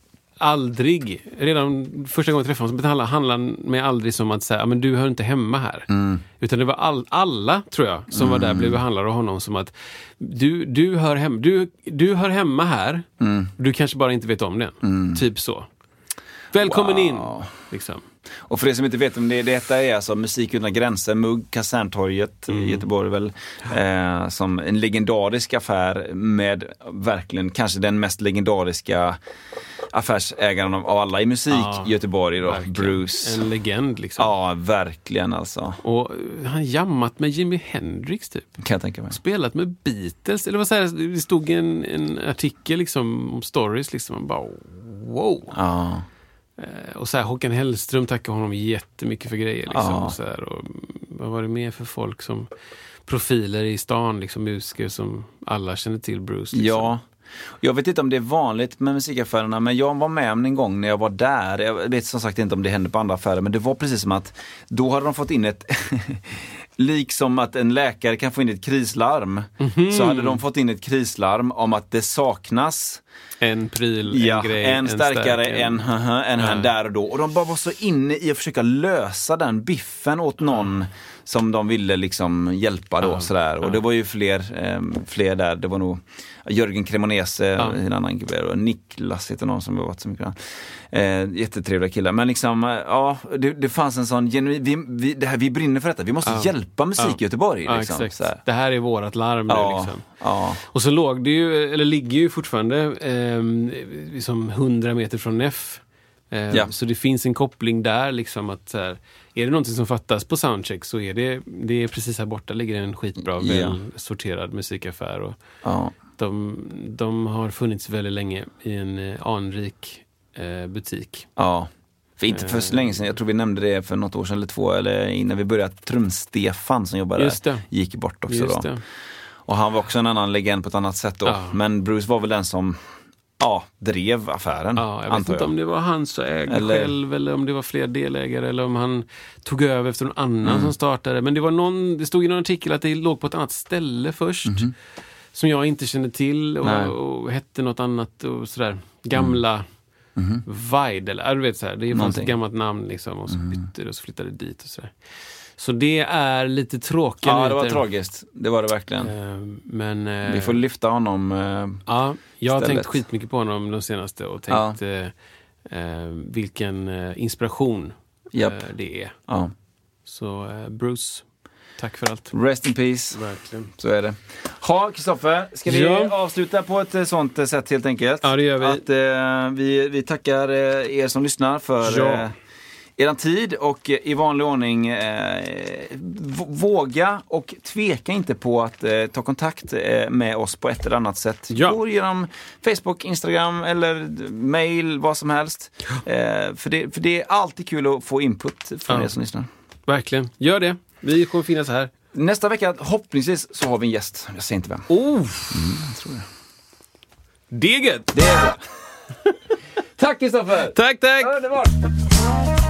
aldrig, redan första gången jag träffade honom, så behandlade handlade han mig aldrig som att säga, "Ja, men du hör inte hemma här. Mm. Utan det var all, alla, tror jag, som var där blev behandlade av honom som att du, du, hör, hem, du, du hör hemma här, Mm. du kanske bara inte vet om det. Typ så. Välkommen in! Liksom. Och för er som inte vet om det, detta är alltså Musik utan gränser, Mugg, Kaserntorget Mm. i Göteborg väl. Eh, som en legendarisk affär med verkligen kanske den mest legendariska affärsägaren av, av alla i musik Ja, i Göteborg då, verkligen. Bruce. En legend liksom. Ja, verkligen alltså. Och eh, han jammat med Jimi Hendrix typ. Kan jag tänka mig. spelat med Beatles. Eller vad säger jag? Det stod en, en artikel liksom, om stories. Liksom. Man bara wow. Ja. Eh, Och så här, Håkan Hellström tackar honom jättemycket för grejer. Liksom, Ja. och så här, och vad var det mer för folk som profiler i stan, liksom musiker som alla känner till Bruce. Liksom. Ja. Jag vet inte om det är vanligt med musikaffärerna men jag var med om en gång när jag var där. Jag vet som sagt inte om det hände på andra affärer men det var precis som att då hade de fått in ett Liksom att en läkare kan få in ett krislarm. Så hade de fått in ett krislarm om att det saknas En pryl, ja, en grej, en starkare stark, än haha, en här där och då. Och de bara var så inne i att försöka lösa den biffen åt någon som de ville liksom hjälpa då. Sådär. Och det var ju fler, ehm, fler där. Det var nog Jörgen Cremonese, en annan gubbe, och Niklas heter någon som har varit så mycket. Eh, jättetrevliga killar. Men liksom, eh, ja, det, det fanns en sån genuin, vi, vi, det här, vi brinner för detta. Vi måste hjälpa musik i Göteborg. Ja, Liksom, exakt. sådär. Det här är vårat larm nu Ja, liksom. ja. Och så låg det ju, eller ligger ju fortfarande, ehm, liksom 100 meter från Neff. Ehm, Ja. Så det finns en koppling där liksom att så här, är det någonting som fattas på soundcheck så är det, det är precis här borta ligger en skitbra, Ja. väl sorterad musikaffär. Och Ja. de, de har funnits väldigt länge i en eh, anrik eh, butik. Ja. För inte för Eh. så länge sedan, jag tror vi nämnde det för något år sedan eller två, eller innan vi började, att Trum-Stefan som jobbade Just där det. gick bort också Just då. det. Och han var också en annan legend på ett annat sätt då. Ja. Men Bruce var väl den som, ja, drev affären. Ja, jag vet antar inte om det var han som ägde Eller- själv eller om det var fler delägare eller om han tog över efter någon annan Mm. som startade. Men det, var någon, det stod i någon artikel att det låg på ett annat ställe först. Som jag inte kände till Mhm. Nej. Mm. och, och hette något annat och sådär. Gamla Vide eller ja, du vet såhär. Det fanns Mhm. Någonting. Mhm. ett gammalt namn liksom och så bytte det och så flyttade det dit och sådär. Så det är lite tråkiga Ja, det var nyheter. tragiskt. Det var det verkligen. Eh, Men, eh, Vi får lyfta honom. eh, Ja, jag har istället. tänkt skitmycket på honom de senaste och tänkt eh, eh, vilken eh, inspiration Japp. eh, det är. Ja. Så eh, Bruce, tack för allt. Rest in peace. Verkligen. Så är det. Ha, Kristoffer, ska vi Ja. avsluta på ett eh, sånt eh, sätt helt enkelt? Ja, det gör vi. Att, eh, vi, vi tackar eh, er som lyssnar för Ja. eh, eran tid och eh, i vanlig ordning eh, v- våga och tveka inte på att eh, ta kontakt eh, med oss på ett eller annat sätt. Ja. Gå genom Facebook, Instagram eller d- mail, vad som helst. Eh, för, det, för det är alltid kul att få input från Ja. er som lyssnar. Verkligen, gör det. Vi kommer finnas här. Nästa vecka, hoppningsvis, så har vi en gäst. Jag säger inte vem. Mm, Oh! Deget! Det är bra. Tack Kristoffer! Tack, tack! Underbart!